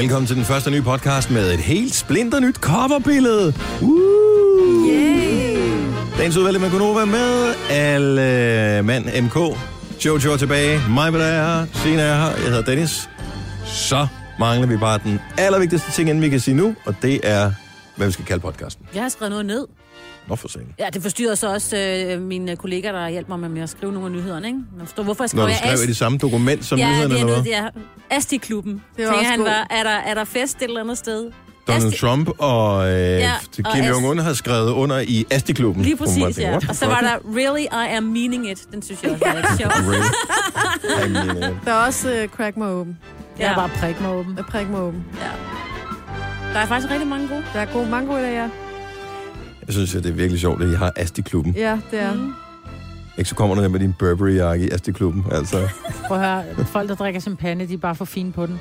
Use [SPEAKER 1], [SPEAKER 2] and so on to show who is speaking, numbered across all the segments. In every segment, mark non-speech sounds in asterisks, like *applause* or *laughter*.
[SPEAKER 1] Velkommen til den første nye podcast med et helt splinter nyt coverbillede. Uh! Yeah. Dagens udvalgte med Gunova med alle mand MK. Jojo er tilbage, mig er her, Sina er her, jeg hedder Dennis. Så mangler vi bare den allervigtigste ting, inden vi kan sige nu, og det er, hvad vi skal kalde podcasten.
[SPEAKER 2] Jeg har skrevet noget ned.
[SPEAKER 1] Nå for sent.
[SPEAKER 2] Ja, det forstyrrer så også øh, mine kolleger, der hjælper mig med at skrive nogle af nyhederne, ikke? Man forstår, hvorfor jeg
[SPEAKER 1] Når
[SPEAKER 2] skriver
[SPEAKER 1] du
[SPEAKER 2] jeg
[SPEAKER 1] skrev i det samme dokument som
[SPEAKER 2] Ja,
[SPEAKER 1] nyhederne,
[SPEAKER 2] det er
[SPEAKER 1] eller hvad?
[SPEAKER 2] noget, det er Asti-klubben.
[SPEAKER 3] Det
[SPEAKER 2] Det
[SPEAKER 3] var
[SPEAKER 2] var
[SPEAKER 3] også
[SPEAKER 2] han
[SPEAKER 3] god.
[SPEAKER 2] var, er der, er der fest et eller andet sted?
[SPEAKER 1] Donald
[SPEAKER 2] Asti-
[SPEAKER 1] Trump og øh,
[SPEAKER 2] Ja,
[SPEAKER 1] ja,
[SPEAKER 2] og
[SPEAKER 1] Kim
[SPEAKER 2] Asti-
[SPEAKER 1] Jong-un har skrevet under i Asti-klubben.
[SPEAKER 2] Lige
[SPEAKER 1] Hvor man
[SPEAKER 2] præcis,
[SPEAKER 1] tænker,
[SPEAKER 2] ja.
[SPEAKER 1] what the
[SPEAKER 2] Og så var
[SPEAKER 1] fuck?
[SPEAKER 2] der Really I Am Meaning It. Den synes jeg også var lidt sjov.
[SPEAKER 1] Really? I mean, øh,
[SPEAKER 3] Der er også øh, crack mig åben.
[SPEAKER 4] Jeg
[SPEAKER 2] Ja,
[SPEAKER 4] er bare prik mig åben.
[SPEAKER 3] Øh, prik mig åben.
[SPEAKER 2] der er faktisk rigtig mange gode.
[SPEAKER 3] Der er god mango i dag, ja.
[SPEAKER 1] Jeg synes, at det er virkelig sjovt, at I har Asti-klubben.
[SPEAKER 3] Ja,
[SPEAKER 2] *laughs*
[SPEAKER 3] det er.
[SPEAKER 2] Mm.
[SPEAKER 1] Ikke så kommer du der med din Burberry-jakke i Asti-klubben. Altså,
[SPEAKER 4] Prøv at høre, folk, der drikker champagne, de er bare for fine på den.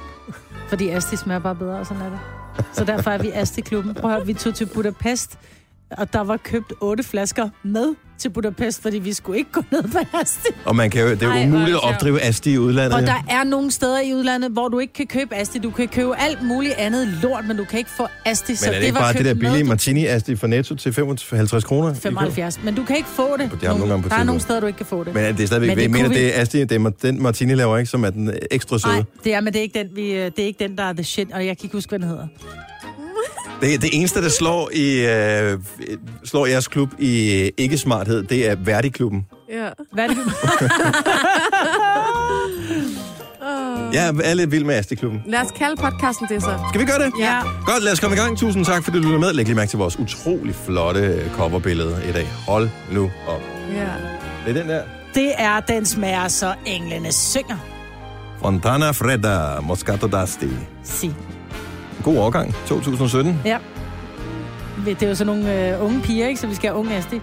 [SPEAKER 4] Fordi Asti smager bare bedre, og sådan er det. Så derfor er vi Asti-klubben. Prøv at høre, vi tog til Budapest, og der var købt otte flasker med til Budapest, fordi vi skulle ikke gå ned på Asti.
[SPEAKER 1] og man kan jo, det er jo
[SPEAKER 2] Ej, hvor er
[SPEAKER 1] umuligt
[SPEAKER 2] det
[SPEAKER 1] at
[SPEAKER 2] sjovt.
[SPEAKER 1] opdrive Asti i udlandet.
[SPEAKER 4] Og
[SPEAKER 1] jo.
[SPEAKER 4] der er nogle steder i udlandet, hvor du ikke kan købe Asti. Du kan købe alt muligt andet lort, men du kan ikke få Asti.
[SPEAKER 1] Men er det ikke bare det der
[SPEAKER 4] købt med-
[SPEAKER 1] billige martini-Asti fra Netto til 55 kroner?
[SPEAKER 4] 75, men du kan ikke få det.
[SPEAKER 1] Det er nogle gange på
[SPEAKER 4] der er
[SPEAKER 1] tilbud.
[SPEAKER 4] nogle steder, du ikke kan få det.
[SPEAKER 1] Men er det er stadigvæk,
[SPEAKER 4] Men
[SPEAKER 1] men
[SPEAKER 4] det
[SPEAKER 1] jeg mener,
[SPEAKER 4] kunne
[SPEAKER 1] det er Asti, det er den martini laver ikke, som er den ekstra søde.
[SPEAKER 4] Nej, det er, men det er, ikke den, vi, det er ikke den, der er the shit, og jeg kan ikke huske, hvad den hedder.
[SPEAKER 1] Det, det eneste, der slår, i, øh, slår jeres klub i øh, ikke-smarthed, det er
[SPEAKER 4] *laughs*
[SPEAKER 1] Verdi-klubben.
[SPEAKER 3] Ja.
[SPEAKER 4] Hvad er det?
[SPEAKER 2] *laughs*
[SPEAKER 1] Jeg er lidt vild med Asti-klubben.
[SPEAKER 3] Lad os kalde podcasten det så.
[SPEAKER 1] Skal vi gøre det?
[SPEAKER 4] Ja.
[SPEAKER 1] Godt, lad os komme i gang. Tusind tak, fordi du lyttede med. Læg lige mærke til vores utrolig flotte øh, coverbillede i dag. Hold nu op.
[SPEAKER 3] Ja.
[SPEAKER 1] Det er den der.
[SPEAKER 4] Det er den smager, så englene synger.
[SPEAKER 1] Fontana Fredda Moscato d'Asti.
[SPEAKER 4] Si.
[SPEAKER 1] God overgang, 2017.
[SPEAKER 4] Ja. Det er jo sådan nogle øh, unge piger, ikke? Så vi skal have unge Asti.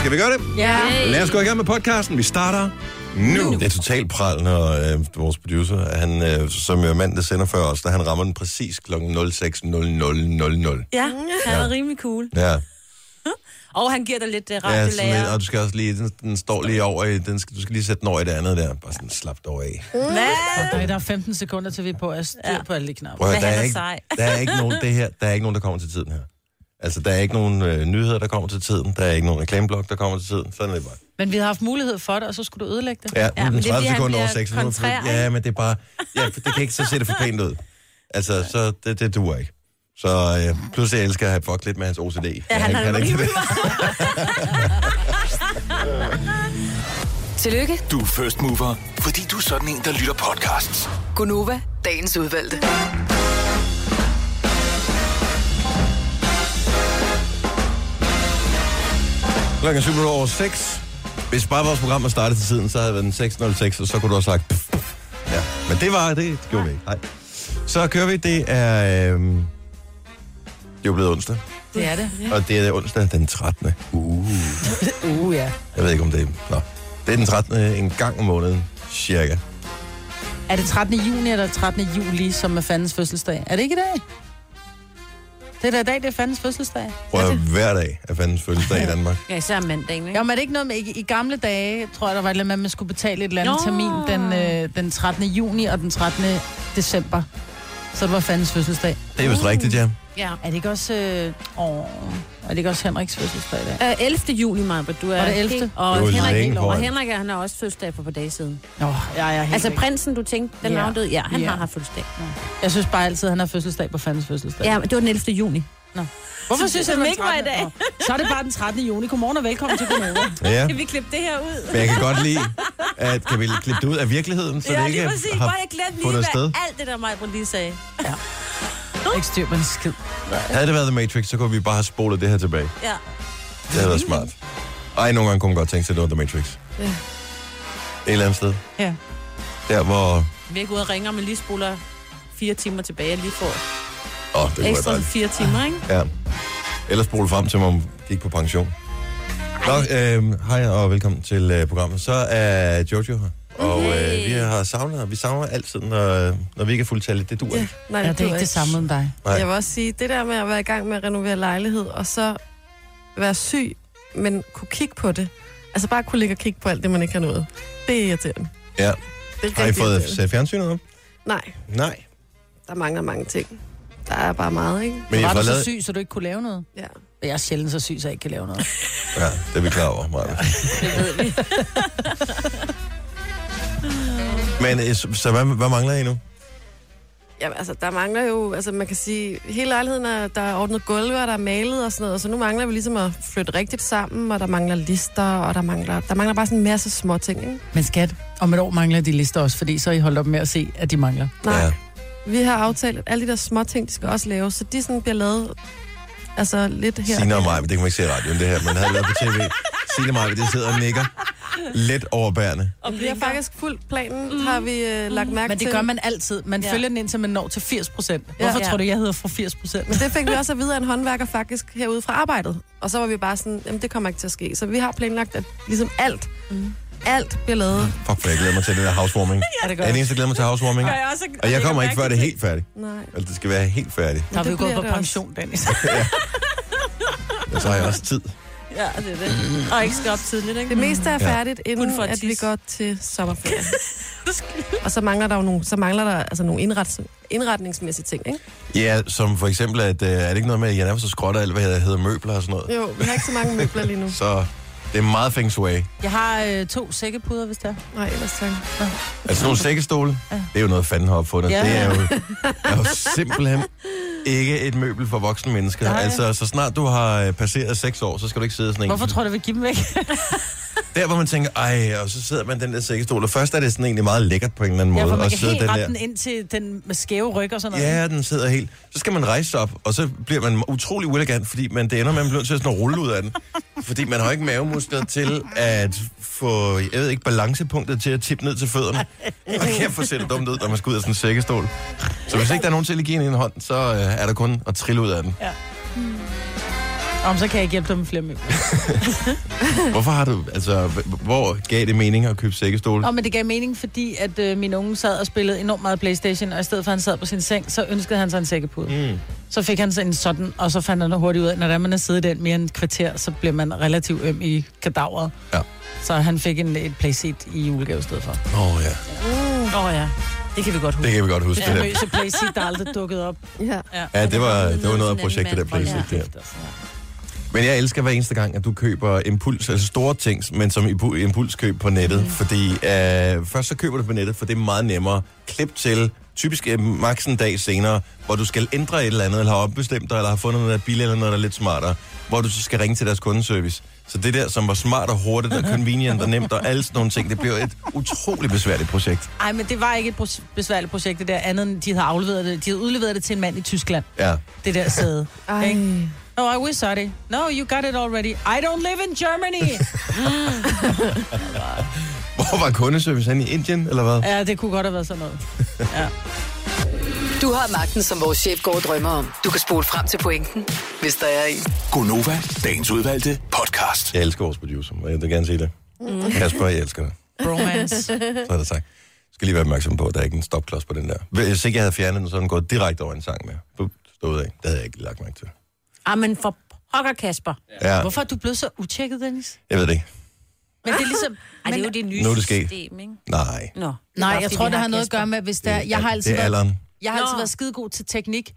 [SPEAKER 1] Skal vi gøre det?
[SPEAKER 4] Ja.
[SPEAKER 1] Lad os gå i gang med podcasten. Vi starter nu. Det er totalt pral, når øh, vores producer, han, øh, som jo er mand, der sender før os, da han rammer den præcis kl. 06.00.00.
[SPEAKER 2] Ja, han er rimelig cool.
[SPEAKER 1] Ja,
[SPEAKER 2] Og han giver dig lidt uh,
[SPEAKER 1] ja sådan lidt,
[SPEAKER 2] radiolærer.
[SPEAKER 1] og du skal også lige, den, den står lige over i, den skal, du skal lige sætte den over i det andet der. Bare sådan, slap dig af.
[SPEAKER 4] Der er der 15 sekunder, til vi er på at styr på alle de knapper.
[SPEAKER 1] Prøv at,
[SPEAKER 2] Men
[SPEAKER 1] høre, der,
[SPEAKER 2] han
[SPEAKER 1] er
[SPEAKER 2] er
[SPEAKER 1] ikke,
[SPEAKER 2] sej.
[SPEAKER 1] der er ikke nogen det her, der er ikke nogen der kommer til tiden her. Altså der er ikke nogen øh, nyheder der kommer til tiden, der er ikke nogen reklameblok der kommer til tiden. Sådan er det bare.
[SPEAKER 4] Men vi har haft mulighed for det, og så skulle du ødelægge det.
[SPEAKER 1] Ja, ja
[SPEAKER 2] men
[SPEAKER 1] men
[SPEAKER 2] det er
[SPEAKER 1] 30
[SPEAKER 2] fordi, han
[SPEAKER 1] sekunder over
[SPEAKER 2] bliver
[SPEAKER 1] 6 minutter.
[SPEAKER 2] kontrær, ikke?
[SPEAKER 1] Ja, men det er bare ja, for det kan ikke så se det for pænt ud. Altså så det, det duer ikke. Så øh, pludselig elsker jeg at have fucket lidt med hans OCD. Ja,
[SPEAKER 2] han har det
[SPEAKER 1] det.
[SPEAKER 5] *laughs* Tillykke,
[SPEAKER 6] Du er first mover, fordi du er sådan en, der lytter podcasts.
[SPEAKER 5] Gunova, dagens udvalgte.
[SPEAKER 1] Klokken er 7 minutter over 6. Hvis bare vores program var startet til tiden, så havde det været den 6.06, og så kunne du have sagt... Pff, pff. Ja, men det var det. Det gjorde vi ikke. Nej. Så kører vi. Det er... Øh, det er jo blevet onsdag,
[SPEAKER 4] Det er det.
[SPEAKER 1] og det er onsdag den 13. Uh.
[SPEAKER 4] Uh, ja.
[SPEAKER 1] Jeg ved ikke, om det er... Nå. Det er den 13. en gang om måneden, cirka.
[SPEAKER 4] Er det 13. juni eller 13. juli, som er fandens fødselsdag? Er det ikke i dag? Det er da i dag, det er fandens fødselsdag.
[SPEAKER 1] Prøv at høre, hver dag er fandens fødselsdag i Danmark.
[SPEAKER 2] Ja, især mandagen, ikke?
[SPEAKER 4] Jo, men er det ikke noget med, i, i gamle dage, tror jeg, der var et eller andet med, at man skulle betale et eller andet
[SPEAKER 2] Nå.
[SPEAKER 4] termin den, øh, den 13. juni og den 13. december. Så det var fandens fødselsdag.
[SPEAKER 1] Det er vist rigtigt, ja.
[SPEAKER 2] Ja.
[SPEAKER 4] Er det ikke også, øh, åh, er det ikke også Henriks fødselsdag i dag?
[SPEAKER 2] Øh, 11. juli, Maja, du er...
[SPEAKER 4] Var det 11.?
[SPEAKER 2] helt-
[SPEAKER 1] Det var
[SPEAKER 2] Og
[SPEAKER 1] længe
[SPEAKER 2] Henrik, og
[SPEAKER 1] foran.
[SPEAKER 2] Henrik, han har også fødselsdag for et par dage siden.
[SPEAKER 4] Nå, jeg er helt
[SPEAKER 2] Altså
[SPEAKER 4] væk.
[SPEAKER 2] prinsen, du tænkte, den
[SPEAKER 4] Ja.
[SPEAKER 2] yeah. afdøde, ja, han
[SPEAKER 4] Ja.
[SPEAKER 2] yeah. har haft fødselsdag.
[SPEAKER 4] Jeg synes bare altid, at han har fødselsdag på fandens fødselsdag.
[SPEAKER 2] Ja, men det var den 11. juni.
[SPEAKER 4] Hvorfor
[SPEAKER 2] Så
[SPEAKER 4] synes
[SPEAKER 2] det
[SPEAKER 4] jeg, den
[SPEAKER 2] ikke var i
[SPEAKER 4] 13.?
[SPEAKER 2] dag.
[SPEAKER 4] Nå, Så er det bare den 13. juni. Godmorgen og velkommen til Gunova.
[SPEAKER 1] *laughs* ja.
[SPEAKER 2] vi klippe det her ud?
[SPEAKER 1] Men jeg kan godt lide, at kan vi klippe det ud af virkeligheden, så
[SPEAKER 2] Ja,
[SPEAKER 1] det
[SPEAKER 2] lige
[SPEAKER 1] ikke
[SPEAKER 2] præcis. Bare
[SPEAKER 1] har
[SPEAKER 2] jeg glemte lige,
[SPEAKER 1] fundet
[SPEAKER 2] hvad
[SPEAKER 1] sted.
[SPEAKER 2] alt det der mig, lige sagde. *laughs*
[SPEAKER 4] Ikke styr på en skid.
[SPEAKER 1] Havde det været The Matrix, så kunne vi bare have spolet det her tilbage.
[SPEAKER 2] Ja.
[SPEAKER 1] Det havde
[SPEAKER 3] Mm.
[SPEAKER 1] været smart. Ej, nogle gange kunne man godt tænke sig, at det var The Matrix. Ja. Et eller andet sted.
[SPEAKER 4] Ja.
[SPEAKER 1] Der hvor...
[SPEAKER 2] Vi er ikke ude og ringer, men lige spoler fire timer tilbage, jeg lige får
[SPEAKER 1] Åh, oh, det kunne
[SPEAKER 2] ekstra
[SPEAKER 1] være dejligt.
[SPEAKER 2] fire timer, ikke?
[SPEAKER 1] Ja. Ellers spole frem til, man gik på pension. Nå, øh, hej og velkommen til øh, programmet. Så er Jojo her. Og øh, vi har savnet, vi savner altid, når, når vi ikke er fuldtallet. Det dur ikke.
[SPEAKER 3] Nej,
[SPEAKER 4] Ja, det er ikke det samme med dig.
[SPEAKER 1] Nej.
[SPEAKER 3] Jeg vil også sige, det der med at være i gang med at renovere lejlighed, og så være syg, men kunne kigge på det. Altså bare kunne ligge og kigge på alt det, man ikke har nået. Det er irriterende.
[SPEAKER 1] Ja.
[SPEAKER 3] Det er
[SPEAKER 1] Har I
[SPEAKER 3] rigtig
[SPEAKER 1] fået
[SPEAKER 3] irriterende.
[SPEAKER 1] sat fjernsynet op?
[SPEAKER 3] Nej,
[SPEAKER 1] Nej.
[SPEAKER 3] der mangler mange ting. Der er bare meget, ikke?
[SPEAKER 1] Men I
[SPEAKER 4] Var
[SPEAKER 1] har
[SPEAKER 4] du
[SPEAKER 1] fået
[SPEAKER 4] så
[SPEAKER 1] lavet...
[SPEAKER 4] syg, så du ikke kunne lave noget?
[SPEAKER 3] Ja.
[SPEAKER 4] Jeg er sjældent så syg, så jeg ikke kan lave noget.
[SPEAKER 1] Ja, det er vi klar over, Maja. Men øh, så, så hvad, hvad mangler I nu?
[SPEAKER 3] Jamen, altså, der mangler jo, altså man kan sige, hele lejligheden er, der er ordnet gulve, og der er malet og sådan noget, og så nu mangler vi ligesom at flytte rigtigt sammen, og der mangler lister, og der mangler, der mangler bare sådan en masse små ting, ikke?
[SPEAKER 4] Men skat, om et år mangler de lister også, fordi så er I holdt op med at se, at de mangler.
[SPEAKER 3] Nej.
[SPEAKER 1] Ja.
[SPEAKER 3] Ja. Vi har aftalt, at alle de der små ting, de skal også laves, så de sådan bliver lavet, altså lidt her.
[SPEAKER 1] Signe og mig, det kan man ikke se i radioen, det her, men havde lavet på tv. Signe og mig, det sidder og nikker. Let overbærende.
[SPEAKER 2] Og
[SPEAKER 3] Vi har faktisk fuldt planen, mm. har vi øh, lagt mærke
[SPEAKER 4] Men det
[SPEAKER 3] til.
[SPEAKER 4] gør man altid. Man ja. følger den indtil man når til 80 procent. Hvorfor
[SPEAKER 2] Ja.
[SPEAKER 4] tror du, jeg hedder fra 80 procent?
[SPEAKER 3] Men det fik vi også at vide af en håndværker faktisk herude fra arbejdet. Og så var vi bare sådan, jamen det kommer ikke til at ske. Så vi har planlagt, at ligesom alt, mm. alt bliver lavet.
[SPEAKER 1] Fuck, for jeg glæder mig til den der housewarming.
[SPEAKER 4] Er det
[SPEAKER 1] Jeg er den
[SPEAKER 4] godt?
[SPEAKER 1] eneste, der glæder mig til housewarming.
[SPEAKER 2] jeg også,
[SPEAKER 1] Og jeg kommer ikke før det er helt færdigt.
[SPEAKER 3] Nej.
[SPEAKER 1] Altså, det skal være helt færdigt.
[SPEAKER 4] *laughs* Der har vi jo
[SPEAKER 3] det
[SPEAKER 4] gået
[SPEAKER 3] bliver
[SPEAKER 4] på
[SPEAKER 3] det også.
[SPEAKER 4] pension, Dennis.
[SPEAKER 1] Og så har jeg også tid.
[SPEAKER 2] Ja, det er det. Og ikke skal op tidligt, ikke?
[SPEAKER 3] Det meste er
[SPEAKER 1] Ja.
[SPEAKER 3] færdigt, ja.
[SPEAKER 2] Kun
[SPEAKER 3] inden
[SPEAKER 2] for at
[SPEAKER 3] at vi
[SPEAKER 2] tisse.
[SPEAKER 3] går til
[SPEAKER 2] *laughs*
[SPEAKER 3] sommerferien. og så mangler der jo nogle, så mangler der altså nogle indrets, indretningsmæssige ting, ikke?
[SPEAKER 1] Ja, som for eksempel, at øh, er det ikke noget med, at jeg nærmest så skrotter alt, hvad jeg hedder møbler og sådan noget.
[SPEAKER 3] *laughs* Jo, vi har ikke så mange møbler lige nu.
[SPEAKER 1] Så det er meget feng shui.
[SPEAKER 4] Jeg har øh, to sækkepuder, hvis der.
[SPEAKER 3] Nej, ellers tak.
[SPEAKER 1] Altså nogle sækkestole, det er jo noget fanden har opfundet.
[SPEAKER 4] Ja.
[SPEAKER 1] Det er jo, *laughs* er jo simpelthen ikke et møbel for voksne mennesker.
[SPEAKER 4] Nej.
[SPEAKER 1] Altså, så snart du har øh, passeret 6 år, så skal du ikke sidde i sådan en.
[SPEAKER 4] *laughs* Hvorfor tror du, vi giver dem væk?
[SPEAKER 1] Der, hvor man tænker, ej, og så sidder man i den der sækkestol. Og først er det sådan egentlig meget lækkert på en eller anden
[SPEAKER 4] Ja,
[SPEAKER 1] måde.
[SPEAKER 4] for man
[SPEAKER 1] at
[SPEAKER 4] kan
[SPEAKER 1] sidde
[SPEAKER 4] helt
[SPEAKER 1] den
[SPEAKER 4] rette
[SPEAKER 1] der.
[SPEAKER 4] den ind til den med skæve ryg og sådan noget.
[SPEAKER 1] Ja, den sidder helt. Så skal man rejse sig op, og så bliver man utrolig uelegant, fordi man, det ender med, at man bliver nødt til at sådan at rulle ud af den. Fordi man har ikke mavemuskler til at få, jeg ved ikke, balancepunktet til at tippe ned til fødderne. Og kæft, for ser det dumt ud, når man skal ud af sådan en sækkestol. Så hvis ikke der er nogen til at give en en hånd, så øh, er der kun at trille ud af den.
[SPEAKER 4] Om så kan jeg ikke hjælpe dig med flere møbler.
[SPEAKER 1] Hvorfor har du, altså, h- hvor gav det mening at købe sækkestol?
[SPEAKER 4] Nå, men det gav mening, fordi at øh, min unge sad og spillede enormt meget Playstation, og i stedet for at han sad på sin seng, så ønskede han sig en sækkepude.
[SPEAKER 1] Mm.
[SPEAKER 4] Så fik han sig en sådan, og så fandt han hurtigt ud af, at når der er, man har siddet i den mere end et kvarter, så bliver man relativt øm i kadaveret.
[SPEAKER 1] Ja.
[SPEAKER 4] Så han fik en, et playset i julegave i stedet for.
[SPEAKER 1] Åh oh, ja,
[SPEAKER 2] Åh oh, ja, det kan vi
[SPEAKER 1] det
[SPEAKER 2] godt huske.
[SPEAKER 1] kan vi godt huske.
[SPEAKER 4] Det
[SPEAKER 1] Det der.
[SPEAKER 4] nervøse playset, der aldrig dukkede op.
[SPEAKER 3] Ja.
[SPEAKER 1] Ja, det var,
[SPEAKER 2] Det
[SPEAKER 1] det var noget af
[SPEAKER 2] sådan en
[SPEAKER 1] projektet, der
[SPEAKER 2] mand
[SPEAKER 1] blev
[SPEAKER 2] fra
[SPEAKER 1] set der.
[SPEAKER 4] Kæft, altså.
[SPEAKER 1] Men jeg elsker hver eneste gang, at du køber impuls, altså store ting, men som impu- impulskøb på nettet. Mm. Fordi øh, først så køber du på nettet, for det er meget nemmere. Klip til, typisk øh, maks en dag senere, hvor du skal ændre et eller andet, eller har opbestemt dig, eller har fundet noget der er billigt, eller noget, der er lidt smartere, hvor du så skal ringe til deres kundeservice. Så det der, som var smart og hurtigt og convenient og nemt og alle sådan nogle ting, det bliver et utrolig besværligt projekt.
[SPEAKER 4] Ej, men det var ikke et pros- besværligt projekt, det der andet, end de havde afleveret det. De havde udleveret det til en mand i Tyskland,
[SPEAKER 1] Ja.
[SPEAKER 4] det der sæde.
[SPEAKER 3] Ej.
[SPEAKER 4] Ikke? No, I was sorry. No, you got it already. I don't live in Germany.
[SPEAKER 1] Hvor var kundeservice henne i Indien, eller hvad?
[SPEAKER 4] ja, det kunne godt have været sådan noget.
[SPEAKER 5] Du har magten, som vores chef går og drømmer om. Du kan spole frem til pointen, hvis der er en.
[SPEAKER 7] Gonova, dagens udvalgte podcast.
[SPEAKER 1] Jeg elsker vores producer, og jeg vil gerne sige det. Kasper, jeg elsker dig.
[SPEAKER 4] *laughs* Bromance.
[SPEAKER 1] Så er det sagt. Jeg skal lige være opmærksom på, at der er ikke en stopklods på den der. Hvis ikke jeg havde fjernet den, så havde den gået direkte over en sang med. Bup, stod af. Det havde jeg ikke lagt mærke til.
[SPEAKER 2] Ah, men for pokker, Kasper.
[SPEAKER 1] Ja,
[SPEAKER 4] *laughs* Hvorfor er du blevet så utjekket, Dennis?
[SPEAKER 1] jeg ved det ikke.
[SPEAKER 4] Men det er ligesom...
[SPEAKER 2] Ej, det er jo det nye
[SPEAKER 1] Nu er det sket.
[SPEAKER 2] system, ikke?
[SPEAKER 1] Nej.
[SPEAKER 2] Nå.
[SPEAKER 4] Nej, jeg tror, det har noget at gøre med, hvis der... Jeg har
[SPEAKER 1] det
[SPEAKER 4] altid
[SPEAKER 1] er
[SPEAKER 4] været,
[SPEAKER 1] alderen.
[SPEAKER 4] jeg har altid
[SPEAKER 2] Nå. Mm.
[SPEAKER 4] været skidegod til teknik.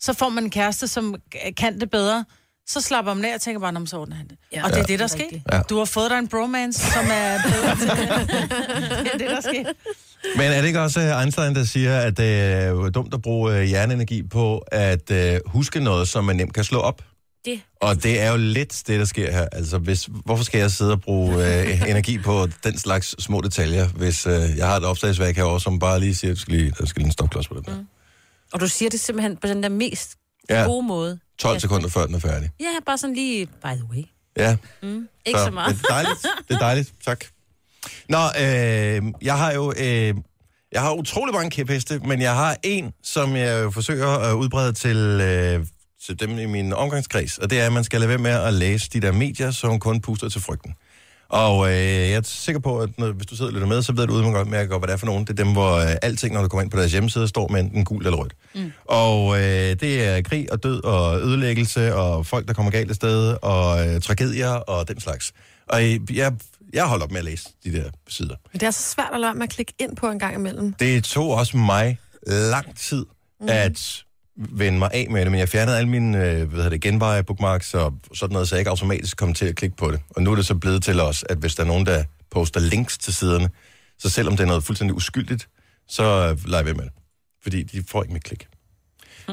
[SPEAKER 4] Så får man en kæreste, som kan det bedre. Så slapper man af og tænker bare, "Nå, men så ordner han det.
[SPEAKER 2] Ja.
[SPEAKER 4] og det er det, der
[SPEAKER 2] det er
[SPEAKER 4] sker.
[SPEAKER 2] rigtigt.
[SPEAKER 1] Ja.
[SPEAKER 4] Du har fået dig en bromance, som er bedre til det. det er det, der sker.
[SPEAKER 1] Men er det ikke også øh, Einstein, der siger, at det er dumt at bruge øh, hjerneenergi på at øh, huske noget, som man nemt kan slå op?
[SPEAKER 2] Det.
[SPEAKER 1] Og det er jo lidt det, der sker her. Altså, hvis, hvorfor skal jeg sidde og bruge øh, energi på den slags små detaljer, hvis øh, jeg har et opslagsværk herovre, som bare lige siger, at skal lige, der skal lige en stopklods på den der.
[SPEAKER 2] *laughs* Og du siger det simpelthen på den der mest
[SPEAKER 1] Ja.
[SPEAKER 2] gode måde.
[SPEAKER 1] 12 sekunder før den er færdig.
[SPEAKER 2] Ja, bare sådan lige, by the way.
[SPEAKER 1] Ja,
[SPEAKER 2] Mm. Ikke så, så meget.
[SPEAKER 1] Det er
[SPEAKER 2] *laughs*
[SPEAKER 1] dejligt. Det er dejligt. Tak. Nå, øh, jeg har jo... Øh, jeg har utrolig mange kæpheste, men jeg har en, som jeg jo forsøger at udbrede til, øh, til dem i min omgangskreds, og det er, at man skal lade være med at læse de der medier, som kun puster til frygten. Og øh, jeg er sikker på, at når, hvis du sidder og lytter med, så ved du udmærket godt, godt, hvad det er for nogen. Det er dem, hvor øh, alting, når du kommer ind på deres hjemmeside, står med enten gul eller rødt. Mm. Og øh, det er krig og død og ødelæggelse og folk, der kommer galt af sted og øh, tragedier og den slags. Og øh, jeg Jeg holdt op med at læse de der sider.
[SPEAKER 3] Men det er så svært at lade være med at klikke ind på en gang imellem.
[SPEAKER 1] Det tog også mig lang tid mm. at vende mig af med det, men jeg fjernede alle mine øh, hvad hedder det, genveje, bookmarks og sådan noget, så jeg ikke automatisk kom til at klikke på det. Og nu er det så blevet til os, at hvis der er nogen, der poster links til siderne, så selvom det er noget fuldstændig uskyldigt, så øh, leger vi med det. Fordi de får ikke mit klik.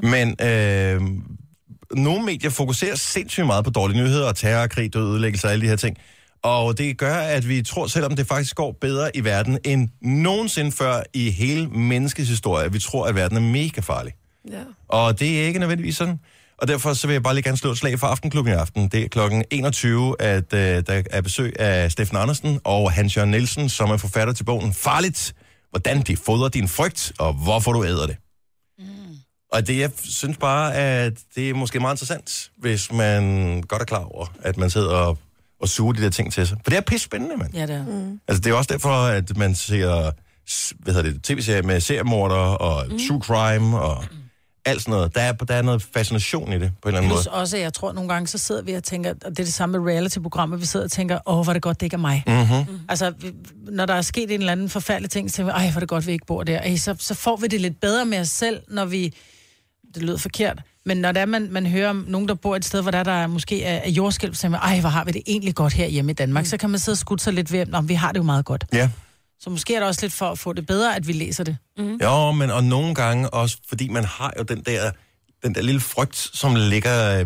[SPEAKER 1] Men øh, nogle medier fokuserer sindssygt meget på dårlige nyheder, terror, krig, død, ødelæggelse og alle de her ting. Og det gør, at vi tror, selvom det faktisk går bedre i verden end nogensinde før i hele menneskets historie, at vi tror, at verden er mega farlig.
[SPEAKER 3] Ja.
[SPEAKER 1] Og det er ikke nødvendigvis sådan. Og derfor så vil jeg bare lige gerne slå et slag for aftenklubben i aften. Det er klokken 21, at øh, der er besøg af Steffen Andersen og Hans Jørgen Nielsen, som er forfatter til bogen Farligt, hvordan de fodrer din frygt, og hvorfor du æder det. Mm. Og det, jeg synes bare, at det er måske meget interessant, hvis man godt er klar over, at man sidder og, og suger de der ting til sig. For det er pisse spændende, mand.
[SPEAKER 2] Ja, det er. Mm.
[SPEAKER 1] Altså, det er jo også derfor, at man ser s- hvad hedder det, tv-serier med seriemorder og mm. true crime og alt sådan noget. Der er, der er noget fascination i det, på en eller anden
[SPEAKER 4] Plus
[SPEAKER 1] måde.
[SPEAKER 4] også, jeg tror nogle gange, så sidder vi og tænker, og det er det samme med reality-programmer, vi sidder og tænker, åh, hvor er det godt, det ikke er mig.
[SPEAKER 1] Mm.
[SPEAKER 4] Mm-hmm. Altså, vi- når der er sket en eller anden forfærdelig ting, så tænker vi, ej, hvor er det godt, vi ikke bor der. Ej, så, så får vi det lidt bedre med os selv, når vi, det lyder forkert, men når der man, man hører om nogen, der bor et sted, hvor der, er- der er måske er, er jordskælv, så tænker man, ej, hvor har vi det egentlig godt her hjemme i Danmark. Mm. Så kan man sidde og skudte sig lidt ved, om vi har det jo meget godt.
[SPEAKER 1] Ja.
[SPEAKER 4] Så måske er det også lidt for at få det bedre, at vi læser det.
[SPEAKER 1] Mm. Jo, men og nogle gange også, fordi man har jo den der, den der lille frygt, som ligger øh,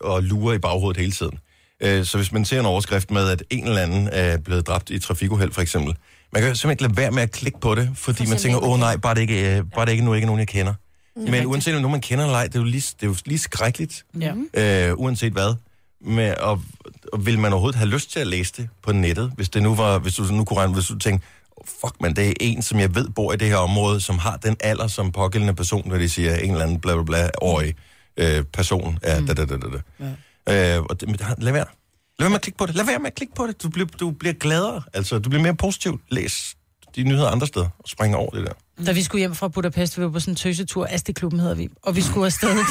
[SPEAKER 1] og lurer i baghovedet hele tiden. Øh, Så hvis man ser en overskrift med, at en eller anden øh, er blevet dræbt i et trafikuheld, for eksempel, man kan jo simpelthen ikke lade være med at klikke på det, fordi man tænker, åh oh, nej, bare det Mm. ikke, øh, bare det ikke nu ikke er nogen, jeg kender. Men uanset om nogen, man kender eller ej, det er jo lige, det er jo lige skrækkeligt.
[SPEAKER 4] Ja.
[SPEAKER 1] øh, uanset hvad. Med, og, og vil man overhovedet have lyst til at læse det på nettet, hvis det nu var, hvis du nu kunne regne, hvis du tænkte, oh, fuck man, det er en, som jeg ved bor i det her område, som har den alder som pågældende person, når de siger en eller anden bla bla bla, årig øh, person er da da da da. da. Øh, og det, men det har- lad være. Lad være med at klikke på det. Lad være med at klikke på det. Du bliver, du bliver gladere. Altså, du bliver mere positiv. Læs de nyheder andre steder og spring over det der.
[SPEAKER 4] Da vi skulle hjem fra Budapest, vi var på sådan en tøsetur, Asteklubben hedder vi, og vi skulle afsted. og det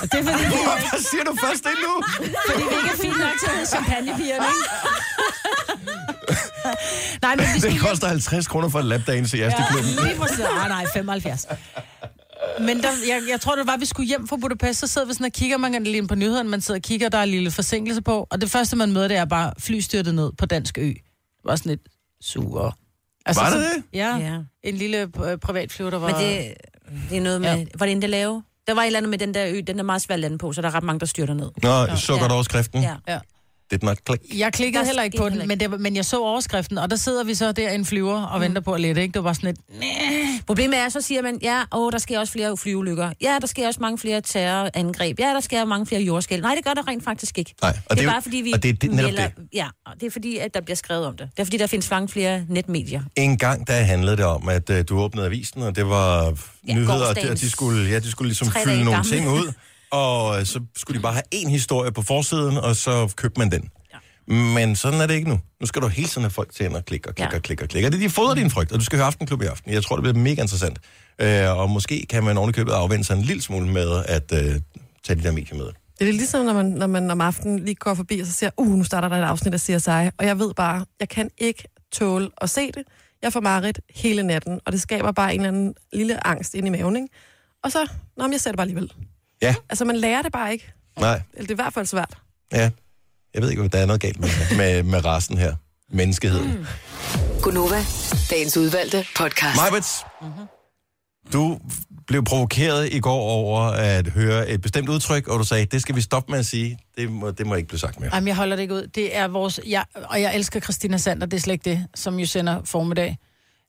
[SPEAKER 4] var det, vi
[SPEAKER 1] Hvad siger du først det nu?
[SPEAKER 4] fordi vi ikke er fint nok til at hedde champagnepigerne, ikke? Nej, men vi
[SPEAKER 1] Det
[SPEAKER 4] skulle
[SPEAKER 1] koster 50 kroner for en lapdance i Asteklubben.
[SPEAKER 4] Lige præcis. Ah, nej, 75. Men der, jeg, jeg tror, det var, at vi skulle hjem fra Budapest, så sidder vi sådan og kigger, man kan det lige på nyhederne, man sidder og kigger, der er en lille forsinkelse på, og det første, man møder, det er bare flystyrtet ned på Dansk Ø. Det var sådan lidt sure. Altså,
[SPEAKER 1] Var det
[SPEAKER 4] sådan-
[SPEAKER 1] det?
[SPEAKER 4] Ja,
[SPEAKER 2] Ja.
[SPEAKER 4] en lille øh, privatflyver, der var...
[SPEAKER 2] Men det, det er noget med...
[SPEAKER 4] Ja.
[SPEAKER 2] Ja. Var det en, der lave? Der var et eller andet med den der ø, den er meget svær at lande på, så der er ret mange, der styrter ned.
[SPEAKER 1] Nå, så
[SPEAKER 2] Ja.
[SPEAKER 1] godt overskriften.
[SPEAKER 2] Ja.
[SPEAKER 4] Ja.
[SPEAKER 1] Did not click.
[SPEAKER 4] Jeg klikkede
[SPEAKER 2] Der
[SPEAKER 4] heller ikke på
[SPEAKER 2] skete
[SPEAKER 4] den,
[SPEAKER 2] heller
[SPEAKER 4] men, det, var- men jeg så overskriften, og der sidder vi så der i en flyver og mm. venter på at lette, ikke? Det var bare sådan lidt...
[SPEAKER 2] Problemet er, så siger man, ja, åh, der sker også flere flyulykker. Ja, der sker også mange flere terrorangreb. Ja, der sker mange flere jordskæld. Nej, det gør der rent faktisk ikke.
[SPEAKER 1] Nej, og
[SPEAKER 2] det,
[SPEAKER 1] det er
[SPEAKER 2] er
[SPEAKER 1] jo-
[SPEAKER 2] bare, fordi vi
[SPEAKER 1] og det er det- netop
[SPEAKER 2] Ja, og det er fordi, at der bliver skrevet om det. Det er fordi, der findes mange flere netmedier.
[SPEAKER 1] En gang, der handlede det om, at øh, du åbnede avisen, og det var ja,
[SPEAKER 2] Ja,
[SPEAKER 1] nyheder, og de,
[SPEAKER 2] gårsdagens
[SPEAKER 1] og de, skulle, ja, de skulle ligesom
[SPEAKER 2] tre
[SPEAKER 1] fylde
[SPEAKER 2] dage
[SPEAKER 1] nogle
[SPEAKER 2] gamle.
[SPEAKER 1] ting ud, og øh, så skulle de bare have en historie på forsiden, og så købte man den. Ja. Men sådan er det ikke nu. Nu skal du hele tiden have folk til at klikke og klikke ja.
[SPEAKER 2] Ja.
[SPEAKER 1] og klikke og klikke. Og det er de fodrer din frygt, og du skal høre Aftenklub i aften. Jeg tror, det bliver mega interessant. Øh, og måske kan man ovenikøbet afvende sig en lille smule med at øh, tage de der medier med.
[SPEAKER 3] Det er lidt ligesom, når man, når man om aftenen lige går forbi, og så ser, uh, nu starter der et afsnit af CSI, og jeg ved bare, jeg kan ikke tåle at se det. Jeg får mareridt hele natten, og det skaber bare en eller anden lille angst ind i maven, ikke? Og så, nå, men jeg ser det bare alligevel.
[SPEAKER 1] Ja,
[SPEAKER 3] Altså, man lærer det bare ikke.
[SPEAKER 1] nej.
[SPEAKER 3] Eller det er i hvert fald svært.
[SPEAKER 1] Ja. Jeg ved ikke, hvad der er noget galt med, med, med rasen her. Menneskeheden. Mm.
[SPEAKER 5] Gunova, dagens udvalgte podcast.
[SPEAKER 1] Majbets, du blev provokeret i går over at høre et bestemt udtryk, og du sagde, det skal vi stoppe med at sige. Det må, det må ikke blive sagt mere.
[SPEAKER 4] Jamen, jeg holder det ikke ud. Det er vores... Jeg, og jeg elsker Christina Sander, det er slet ikke det, som jo sender formiddag.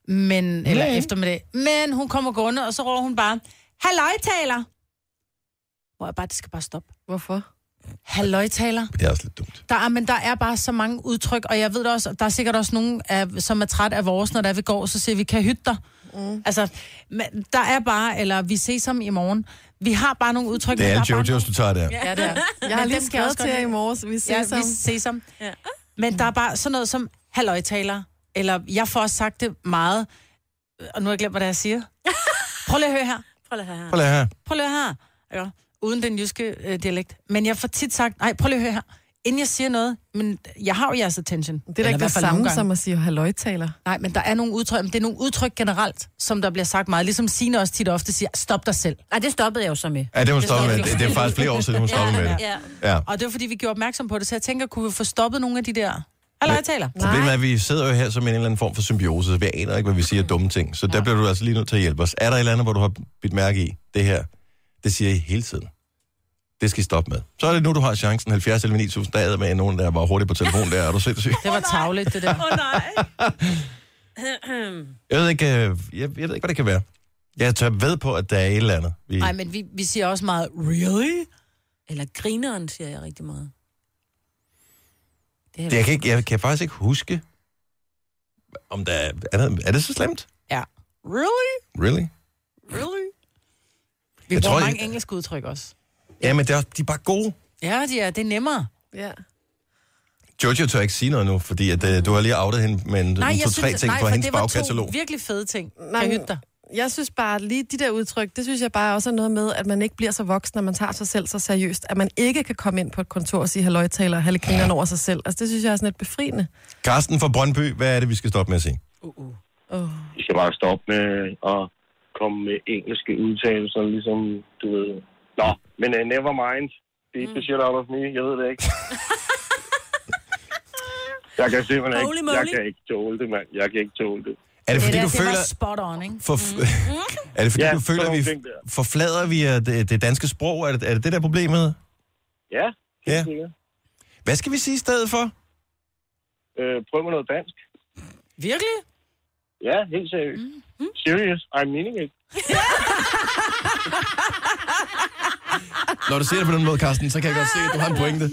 [SPEAKER 4] Men, eller eftermiddag. Men hun kommer gående, og så råber hun bare, Halløjtaler! Hvor jeg bare, det skal bare stoppe.
[SPEAKER 3] Hvorfor?
[SPEAKER 4] Halløjtaler.
[SPEAKER 1] Det er også lidt dumt.
[SPEAKER 4] Der er, men der er bare så mange udtryk, og jeg ved det også, der er sikkert også nogen, af, som er træt af vores, når der er vi går, så siger vi, kan jeg hytte dig. Mm. Altså, men der er bare, eller vi ses om i morgen. Vi har bare nogle
[SPEAKER 1] Det
[SPEAKER 4] udtryk. men
[SPEAKER 1] er
[SPEAKER 4] der
[SPEAKER 1] alle
[SPEAKER 4] bare
[SPEAKER 1] Jojos, du tager der.
[SPEAKER 3] Ja, det er. Jeg har
[SPEAKER 4] Men
[SPEAKER 3] lige
[SPEAKER 4] dem kan jeg også
[SPEAKER 3] skrevet til
[SPEAKER 4] godt
[SPEAKER 3] jer i
[SPEAKER 4] lide.
[SPEAKER 3] morges, vi ses
[SPEAKER 4] Ja,
[SPEAKER 3] om.
[SPEAKER 4] vi ses om. Ja. Men der er bare sådan noget som halvøjtaler, eller jeg får også sagt det meget, og nu har jeg glemt, hvad det er, jeg
[SPEAKER 3] *laughs*
[SPEAKER 4] siger. Prøv lige at høre her.
[SPEAKER 2] Prøv lige at høre her.
[SPEAKER 1] Prøv lige her.
[SPEAKER 4] Prøv lige at høre her. Ja, uden den jyske øh, dialekt. Men jeg får tit sagt, nej, prøv lige at høre her. inden jeg siger noget, men jeg har jo jeres attention.
[SPEAKER 3] Det er da ikke det samme som at sige halløjtaler.
[SPEAKER 4] Nej, men der er nogle udtryk, men det er nogle udtryk generelt, som der bliver sagt meget. Ligesom Signe også tit og ofte siger, stop dig selv.
[SPEAKER 2] Nej, det stoppede jeg jo så med.
[SPEAKER 1] Ja, det må stoppe
[SPEAKER 2] stoppede
[SPEAKER 1] med.
[SPEAKER 2] jeg
[SPEAKER 1] Det,
[SPEAKER 2] jo.
[SPEAKER 1] det er faktisk flere år siden, hun stoppede med det.
[SPEAKER 2] Ja.
[SPEAKER 1] Ja.
[SPEAKER 4] Og det var, fordi vi gjorde opmærksom på det, så jeg tænker, kunne vi få stoppet nogle af de der... Eller jeg taler.
[SPEAKER 1] Problemet er, at vi sidder jo her som en eller anden form for symbiose, så vi aner ikke, hvad vi siger af dumme ting. Så der bliver du altså lige nødt til at hjælpe os. Er der et eller andet, hvor du har bidt mærke i det her? Det siger I hele tiden. Det skal I stoppe med. Så er det nu, du har chancen. 70 eller 9000, der er med nogen, der var hurtigt på telefon der. Er du sindssyg?
[SPEAKER 4] Det var tavligt, det der.
[SPEAKER 2] Åh oh, nej.
[SPEAKER 1] Jeg ved ikke, øh, jeg, jeg ved ikke, hvad det kan være. Jeg tør ved på, at der er et eller andet. Vi...
[SPEAKER 4] Nej, men vi, vi siger også meget, really?
[SPEAKER 2] Eller grineren, siger jeg rigtig meget. Det er,
[SPEAKER 1] Jeg kan, ikke, jeg kan faktisk ikke huske, om der er... Er, der, er det så slemt?
[SPEAKER 4] *clears throat* Ja. Really?
[SPEAKER 1] Really?
[SPEAKER 4] Really? Vi
[SPEAKER 1] Jeg
[SPEAKER 4] jeg
[SPEAKER 1] tror,
[SPEAKER 4] bruger
[SPEAKER 1] jeg-
[SPEAKER 4] mange engelske udtryk også.
[SPEAKER 1] Ja, men det er, også- de er bare gode.
[SPEAKER 4] Ja, de er, det er nemmere.
[SPEAKER 3] Ja.
[SPEAKER 1] Jojo tør ikke sige noget nu, fordi at, øh, du har lige outet hende med en
[SPEAKER 4] Nej, jeg
[SPEAKER 1] to-tre
[SPEAKER 4] synes,
[SPEAKER 1] ting
[SPEAKER 4] nej,
[SPEAKER 1] fra
[SPEAKER 4] for
[SPEAKER 1] hendes
[SPEAKER 4] det var
[SPEAKER 1] bagkatalog.
[SPEAKER 4] to virkelig fede ting.
[SPEAKER 3] Nej,
[SPEAKER 4] Nej, jeg hytte dig.
[SPEAKER 3] Jeg synes bare, lige de der udtryk, det synes jeg bare også er noget med, at man ikke bliver så voksen, når man tager sig selv så seriøst. At man ikke kan komme ind på et kontor og sige halløjtaler og halve grineren over sig selv. Altså, det synes jeg er sådan lidt befriende.
[SPEAKER 1] Karsten fra Brøndby, hvad er det, vi skal stoppe med at sige?
[SPEAKER 8] I skal bare stoppe med at komme med engelske udtalelser, ligesom, du ved... Nå, men uh, never mind. Det er ikke shit out of me. Jeg ved det ikke. jeg kan simpelthen
[SPEAKER 2] Holy
[SPEAKER 8] ikke...
[SPEAKER 2] moly.
[SPEAKER 8] Jeg kan ikke tåle det, mand. Jeg kan ikke tåle det.
[SPEAKER 1] Er det, fordi
[SPEAKER 4] det,
[SPEAKER 1] du
[SPEAKER 4] der, det
[SPEAKER 1] føler...
[SPEAKER 4] var spot on, ikke?
[SPEAKER 1] For,
[SPEAKER 2] Mm.
[SPEAKER 1] er det fordi,
[SPEAKER 8] Ja,
[SPEAKER 1] du føler, at
[SPEAKER 8] sådan
[SPEAKER 1] vi
[SPEAKER 8] nogle ting der.
[SPEAKER 1] forflader vi øh, det, det danske sprog? Er det, er det det, der er
[SPEAKER 4] *laughs*
[SPEAKER 1] problemet?
[SPEAKER 8] Ja, helt
[SPEAKER 1] Ja.
[SPEAKER 8] sikkert.
[SPEAKER 1] Hvad skal vi sige i stedet for?
[SPEAKER 8] Øh, prøv med noget dansk.
[SPEAKER 4] Virkelig?
[SPEAKER 8] Ja, helt seriøst. Mm. Serious, I'm meaning it.
[SPEAKER 1] Når du siger det på den måde, Karsten, så kan jeg godt se, at du har en pointe.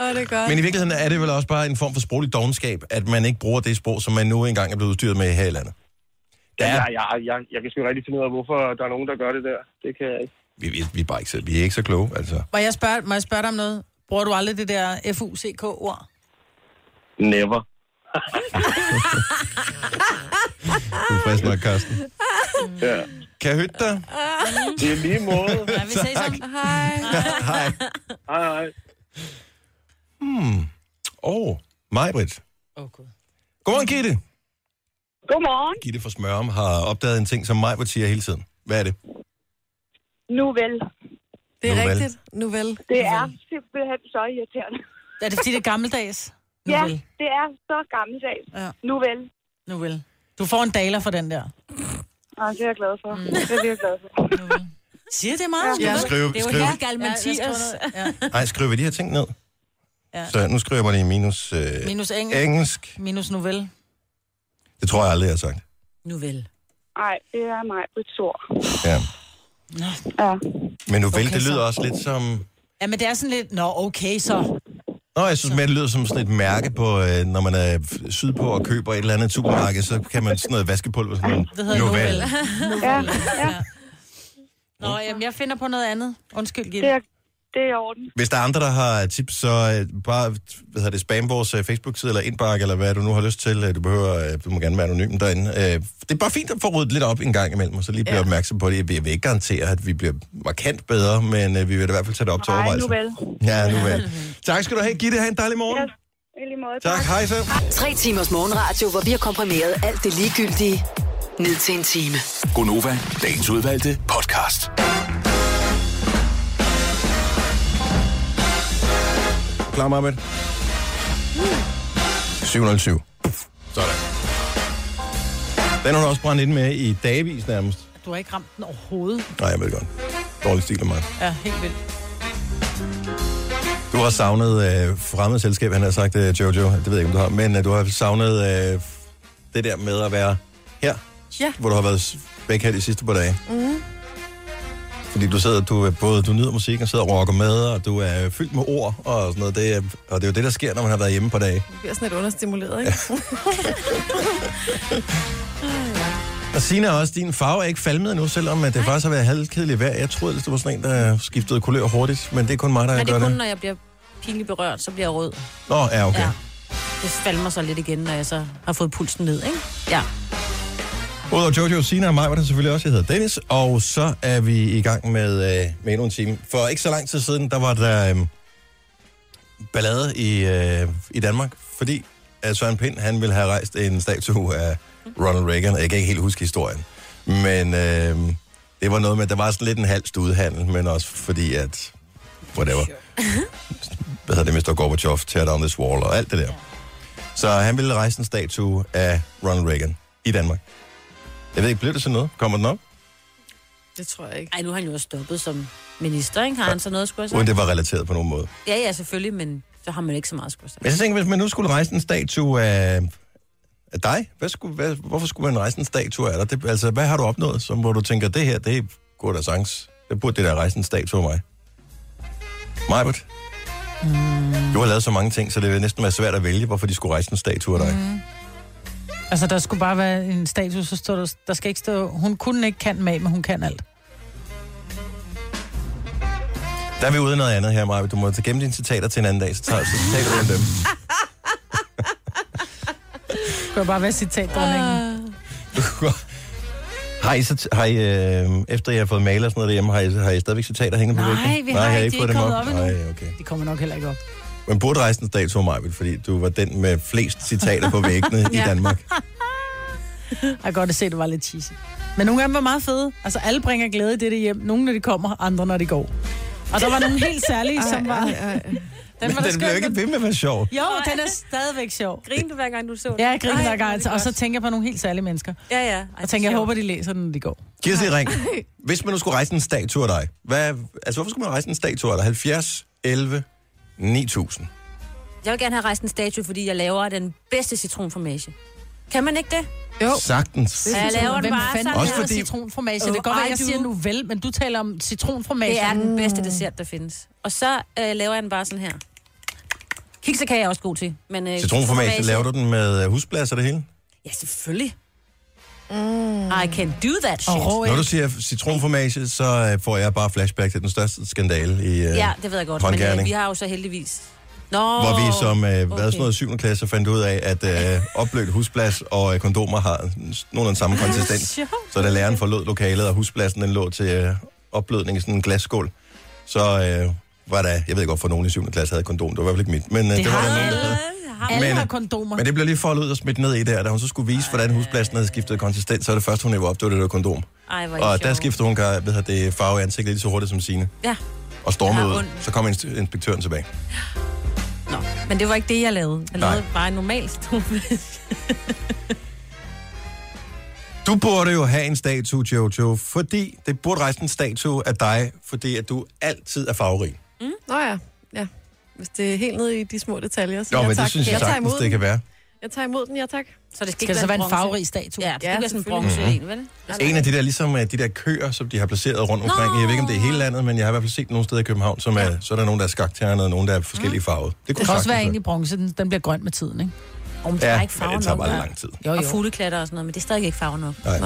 [SPEAKER 3] Åh, det er godt.
[SPEAKER 1] Men i virkeligheden er det vel også bare en form for sproglig dogenskab, at man ikke bruger det sprog, som man nu engang er blevet udstyret med her i landet. Der
[SPEAKER 8] Ja.
[SPEAKER 1] er,
[SPEAKER 8] Jeg, jeg, jeg, jeg kan sgu rigtig finde ud af, hvorfor der er nogen, der gør det der. Det kan jeg ikke.
[SPEAKER 1] vi, vi, vi, er bare ikke, så- vi er ikke så kloge, altså.
[SPEAKER 4] *laughs* Må jeg spørge, må jeg spørge dig om noget? Bruger du aldrig det der FUCK-ord?
[SPEAKER 8] Never.
[SPEAKER 1] Du er frisk nok, Karsten.
[SPEAKER 8] Ja.
[SPEAKER 1] Kan jeg høre dig?
[SPEAKER 3] Ah.
[SPEAKER 8] Det er lige måde.
[SPEAKER 4] Ja, vi ses om.
[SPEAKER 1] Hej.
[SPEAKER 8] Hej, hej.
[SPEAKER 1] Hmm. Åh, oh, Majbrit.
[SPEAKER 4] Åh, oh, Gud.
[SPEAKER 1] Godmorgen, Gitte.
[SPEAKER 9] Godmorgen.
[SPEAKER 1] Gitte fra Smørum har opdaget en ting, som Majbrit siger hele tiden. Hvad er det?
[SPEAKER 9] Nu vel.
[SPEAKER 3] Det er
[SPEAKER 1] Nu vel.
[SPEAKER 3] rigtigt. Nu vel.
[SPEAKER 9] Det er simpelthen så irriterende.
[SPEAKER 4] Er det fordi, det er gammeldags? Nu
[SPEAKER 9] Ja,
[SPEAKER 4] vel.
[SPEAKER 9] det er så gammeldags.
[SPEAKER 4] Ja.
[SPEAKER 9] Nu vel.
[SPEAKER 4] Nu vel. Du får en daler for den der.
[SPEAKER 9] Ej, det er jeg glad for. Det er jeg glad for.
[SPEAKER 4] Siger det meget?
[SPEAKER 9] Ja.
[SPEAKER 1] Skriv,
[SPEAKER 2] det er jo
[SPEAKER 1] skriv,
[SPEAKER 2] helt galt, Mathias.
[SPEAKER 4] Ja.
[SPEAKER 1] nej, skriv de her ting ned.
[SPEAKER 4] Ja.
[SPEAKER 1] Så nu skriver jeg bare lige minus, øh,
[SPEAKER 4] Minus engelsk.
[SPEAKER 1] engelsk.
[SPEAKER 4] Minus novel.
[SPEAKER 1] Det tror jeg aldrig, jeg har sagt.
[SPEAKER 2] Nu vel.
[SPEAKER 9] Nej, det er mig på et sår.
[SPEAKER 1] Ja.
[SPEAKER 9] Ja.
[SPEAKER 1] Men nu vel,
[SPEAKER 4] Okay,
[SPEAKER 1] det
[SPEAKER 4] så.
[SPEAKER 1] lyder også lidt som...
[SPEAKER 4] Ja, men det er sådan lidt, nå okay så.
[SPEAKER 1] Nå, jeg synes, mere, det lyder som sådan et mærke på, øh, når man er f- sydpå og køber et eller andet supermarked, så kan man sådan noget vaskepulver, sådan noget.
[SPEAKER 4] Det hedder
[SPEAKER 1] Nu
[SPEAKER 4] novel.
[SPEAKER 1] vel.
[SPEAKER 9] ja. ja.
[SPEAKER 4] Nå, jamen, jeg finder på noget andet. Undskyld,
[SPEAKER 9] Det,
[SPEAKER 4] Gitte.
[SPEAKER 9] er, det er i orden.
[SPEAKER 1] Hvis der er andre, der har tips, så øh, bare hvad hedder det, spam vores øh, Facebook-side eller indbakke, eller hvad du nu har lyst til. Øh, Du behøver, øh, du må gerne være anonym derinde. Øh, Det er bare fint at få ryddet lidt op en gang imellem, og så lige blive ja. opmærksom på det. Jeg vil jeg vil ikke garantere, at vi bliver markant bedre, men øh, vi vil da i hvert fald tage det op til
[SPEAKER 9] Nej,
[SPEAKER 1] overvejelse.
[SPEAKER 9] nu vel.
[SPEAKER 1] Ja, nu vel. Tak skal du have, Gitte. Ha' en dejlig morgen.
[SPEAKER 9] Yes. I lige måde.
[SPEAKER 1] Tak, hej så.
[SPEAKER 5] Tre timers morgenradio, hvor vi har komprimeret alt det ligegyldige ned til en
[SPEAKER 6] *laughs*
[SPEAKER 5] time.
[SPEAKER 6] Gonova, dagens udvalgte podcast.
[SPEAKER 1] Klar, Marbet. 707. Sådan. Den har du også brændt ind med i dagvis nærmest.
[SPEAKER 4] Du har ikke ramt den overhovedet.
[SPEAKER 1] Nej, jeg ved det godt. Dårlig stil af mig.
[SPEAKER 4] Ja, helt vildt.
[SPEAKER 1] Du har savnet øh, fremmed selskab, han har sagt, øh, Jojo. Det ved jeg ikke, om du har. Men øh, du har savnet øh, det der med at være her.
[SPEAKER 3] Ja.
[SPEAKER 1] Hvor du har været s- væk her de sidste par dage. Mm. Fordi du sidder, du er både du nyder musikken, og sidder og rocker med, og du er fyldt med ord og sådan noget. Det er, og det er jo det, der sker, når man har været hjemme på dage.
[SPEAKER 3] Det bliver sådan lidt understimuleret, ikke? *laughs*
[SPEAKER 1] Og Signe er også, din farve er ikke falmet endnu, selvom at det faktisk har været halvkedeligt vejr. Jeg troede, at det var sådan en, der skiftede kulør hurtigt, men det er kun mig, der
[SPEAKER 2] Men det
[SPEAKER 1] gør
[SPEAKER 2] er kun,
[SPEAKER 1] det.
[SPEAKER 2] når jeg bliver pinligt berørt, så bliver jeg rød.
[SPEAKER 1] Nå, ja, okay.
[SPEAKER 2] Ja. Det falder mig så lidt igen, når jeg så har fået pulsen ned, ikke? Ja.
[SPEAKER 1] Udover Jojo, Sina og mig, var der selvfølgelig også, jeg hedder Dennis, og så er vi i gang med, øh, med endnu en time. For ikke så lang tid siden, der var der øh, ballade i, øh, i Danmark, fordi at Søren Pind, han ville have rejst en statue af Ronald Reagan, og jeg kan ikke helt huske historien, men øh, det var noget med, at der var sådan lidt en halv studehandel, men også fordi, at whatever. Hvad hedder det, Mr. Gorbachev, tear down this wall, og alt det der. Så han ville rejse en statue af Ronald Reagan i Danmark. Jeg ved ikke, blev det sådan noget? Kommer den op?
[SPEAKER 3] Det tror jeg ikke.
[SPEAKER 2] Ej, nu har han jo også stoppet som minister, ikke? Har han så noget at skulle have
[SPEAKER 1] Uden
[SPEAKER 2] sagt?
[SPEAKER 1] det var relateret på nogen måde.
[SPEAKER 2] Ja, ja, selvfølgelig, men så har man ikke så meget at skulle have sagt.
[SPEAKER 1] Men så tænker jeg, hvis man nu skulle rejse en statue af, af dig, hvad skulle, hvad, hvorfor skulle man rejse en statue af dig? Det, altså, hvad har du opnået, som, hvor du tænker, det her, det går da sangs. Det burde det der rejse en statue af mig. Majbert? Mm. Du har lavet så mange ting, så det vil næsten være svært at vælge, hvorfor de skulle rejse en statue af dig. Mm.
[SPEAKER 4] Altså, der skulle bare være en status, så står der, der skal ikke stå, hun kunne ikke kan med, men hun kan alt.
[SPEAKER 1] Der er vi ude i noget andet her, Majbert. Du må tage gemme dine citater til en anden dag, så tager så taler vi om dem.
[SPEAKER 4] Det skulle bare være
[SPEAKER 2] Ah.
[SPEAKER 4] citatdronningen.
[SPEAKER 1] *laughs* Har I, så- har I øh, efter jeg har fået malet og sådan noget derhjemme, har I, har I stadigvæk citater hængende på
[SPEAKER 4] Nej,
[SPEAKER 1] væggen?
[SPEAKER 4] vi har
[SPEAKER 1] jeg
[SPEAKER 4] ikke. De er ikke kommet op endnu.
[SPEAKER 1] Nej, okay.
[SPEAKER 4] Det kommer nok heller ikke op.
[SPEAKER 1] Man burde rejse en statue af mig, fordi du var den med flest citater på væggene
[SPEAKER 4] *laughs*
[SPEAKER 1] i Danmark.
[SPEAKER 4] Jeg kan godt se, at det var lidt cheesy. Men nogle af dem var meget fede. Altså, alle bringer glæde i dette hjem. Nogle, når de kommer, andre, når de går. Og der var nogle helt særlige, som var... Den
[SPEAKER 3] Ej, ej.
[SPEAKER 4] var da
[SPEAKER 1] Den blev
[SPEAKER 4] skøn.
[SPEAKER 1] ikke ved med at være sjov.
[SPEAKER 4] Jo, den er stadigvæk sjov.
[SPEAKER 2] Griner du hver gang, du så det?
[SPEAKER 4] Ja, jeg griner
[SPEAKER 2] Ej,
[SPEAKER 4] hver
[SPEAKER 2] hvor er
[SPEAKER 4] gang,
[SPEAKER 2] det
[SPEAKER 4] og så
[SPEAKER 2] godt.
[SPEAKER 4] tænker jeg på nogle helt særlige mennesker.
[SPEAKER 2] Ja, ja.
[SPEAKER 4] Og tænker, jeg håber, de læser den, når de går.
[SPEAKER 1] Giv os et ring. Hvis man nu skulle rejse en statue af dig, hvad, altså hvorfor skulle man rejse en statue af dig? 70, 11, 9000.
[SPEAKER 2] Jeg vil gerne have rejst en statue, fordi jeg laver den bedste citronformage. Kan man ikke det?
[SPEAKER 3] Jo.
[SPEAKER 1] Sagtens.
[SPEAKER 2] Ja, jeg laver den
[SPEAKER 4] Hvem
[SPEAKER 2] bare
[SPEAKER 4] fanden
[SPEAKER 2] sådan
[SPEAKER 1] Også
[SPEAKER 2] her.
[SPEAKER 4] hedder
[SPEAKER 1] fordi-
[SPEAKER 4] citronformage? Det
[SPEAKER 2] Oh,
[SPEAKER 4] kan godt være,
[SPEAKER 2] I
[SPEAKER 4] jeg
[SPEAKER 2] do.
[SPEAKER 4] siger nu vel, men du taler om citronformage.
[SPEAKER 2] Det er den bedste dessert, der findes. Og så øh, laver jeg den bare sådan her. Kiksekage er jeg også god til. Men, øh,
[SPEAKER 1] Citronformage, laver du den med øh, husblas og det hele?
[SPEAKER 2] Ja, selvfølgelig. Mm. I can do that shit.
[SPEAKER 4] Og rå
[SPEAKER 1] Når du
[SPEAKER 4] æg.
[SPEAKER 1] siger citronformage, så øh, får jeg bare flashback til den største skandale i øh,
[SPEAKER 2] Ja, det ved jeg godt. Men
[SPEAKER 1] Håndgerning.
[SPEAKER 2] øh, vi har jo så heldigvis... Nå,
[SPEAKER 1] Hvor vi som øh, okay.
[SPEAKER 2] okay.
[SPEAKER 1] sådan noget 7. klasse fandt ud af, at
[SPEAKER 2] *laughs*
[SPEAKER 1] øh, oplødt husplads og øh, kondomer har nogen den
[SPEAKER 2] Ah,
[SPEAKER 1] samme konsistens. Så da læreren forlod lokalet, og huspladsen den lå til øh, oplødning i sådan en glasskål, så øh, var der, jeg ved godt, for nogen i 7. klasse havde kondom, det var i hvert fald ikke mit, men øh, det, det var der nogen, der havde.
[SPEAKER 4] Alle
[SPEAKER 1] Men-
[SPEAKER 4] har kondomer.
[SPEAKER 1] Men det blev lige foldet ud og smidt ned i der, da hun så skulle vise, hvordan huspladsen havde skiftet konsistens, så var det første, hun hævde op, det var det der kondom.
[SPEAKER 2] Ej, hvor er I
[SPEAKER 1] Og der
[SPEAKER 2] sjove.
[SPEAKER 1] skiftede hun gør, ved jeg, det farve i ansigtet lige så hurtigt som sine.
[SPEAKER 2] Ja.
[SPEAKER 1] Og stormede
[SPEAKER 2] Jeg har
[SPEAKER 1] ud.
[SPEAKER 2] ondt.
[SPEAKER 1] Så kom inst- inspektøren tilbage.
[SPEAKER 2] Nå, men det var ikke det, jeg lavede. Jeg
[SPEAKER 1] Nej.
[SPEAKER 2] lavede bare en normal *laughs* stormage.
[SPEAKER 1] Du burde jo have en statue, Jojo, fordi det burde rejse en statue af dig, fordi at du altid er farverig.
[SPEAKER 3] Mm. Nå ja, ja. Hvis det er helt nede i de små detaljer, så
[SPEAKER 1] Jo,
[SPEAKER 3] ja,
[SPEAKER 1] men
[SPEAKER 3] tak.
[SPEAKER 1] det synes jeg
[SPEAKER 3] jeg tager
[SPEAKER 1] sagtens,
[SPEAKER 3] imod
[SPEAKER 1] det
[SPEAKER 3] den.
[SPEAKER 1] kan være.
[SPEAKER 3] Jeg tager imod den, ja tak.
[SPEAKER 2] Så det skal,
[SPEAKER 4] Skal
[SPEAKER 2] ikke
[SPEAKER 4] det så være en
[SPEAKER 2] bronze.
[SPEAKER 4] farverig statue? Mm-hmm.
[SPEAKER 2] Ja, det skal
[SPEAKER 3] Ja,
[SPEAKER 2] ikke være sådan en
[SPEAKER 3] selvfølgelig.
[SPEAKER 2] bronze en, vel?
[SPEAKER 1] En af de der, ligesom øh, de der køer, som de har placeret rundt omkring, jeg ved ikke, om det er hele landet, men jeg har i hvert fald set nogle steder i København, som er, så er der nogen, der er skakternet, og nogen, der er forskellige farvede. Det kunne
[SPEAKER 4] Det kan også
[SPEAKER 1] sagtens
[SPEAKER 4] være en i bronze, den, den bliver grøn med tiden, ikke?
[SPEAKER 2] Om det
[SPEAKER 1] Ja,
[SPEAKER 2] er ikke
[SPEAKER 1] men
[SPEAKER 2] farve
[SPEAKER 1] det tager
[SPEAKER 2] nok.
[SPEAKER 1] bare lang tid.
[SPEAKER 4] Jo,
[SPEAKER 2] Og fugleklatter og sådan noget, men det er stadig ikke farve nok.
[SPEAKER 3] Nej.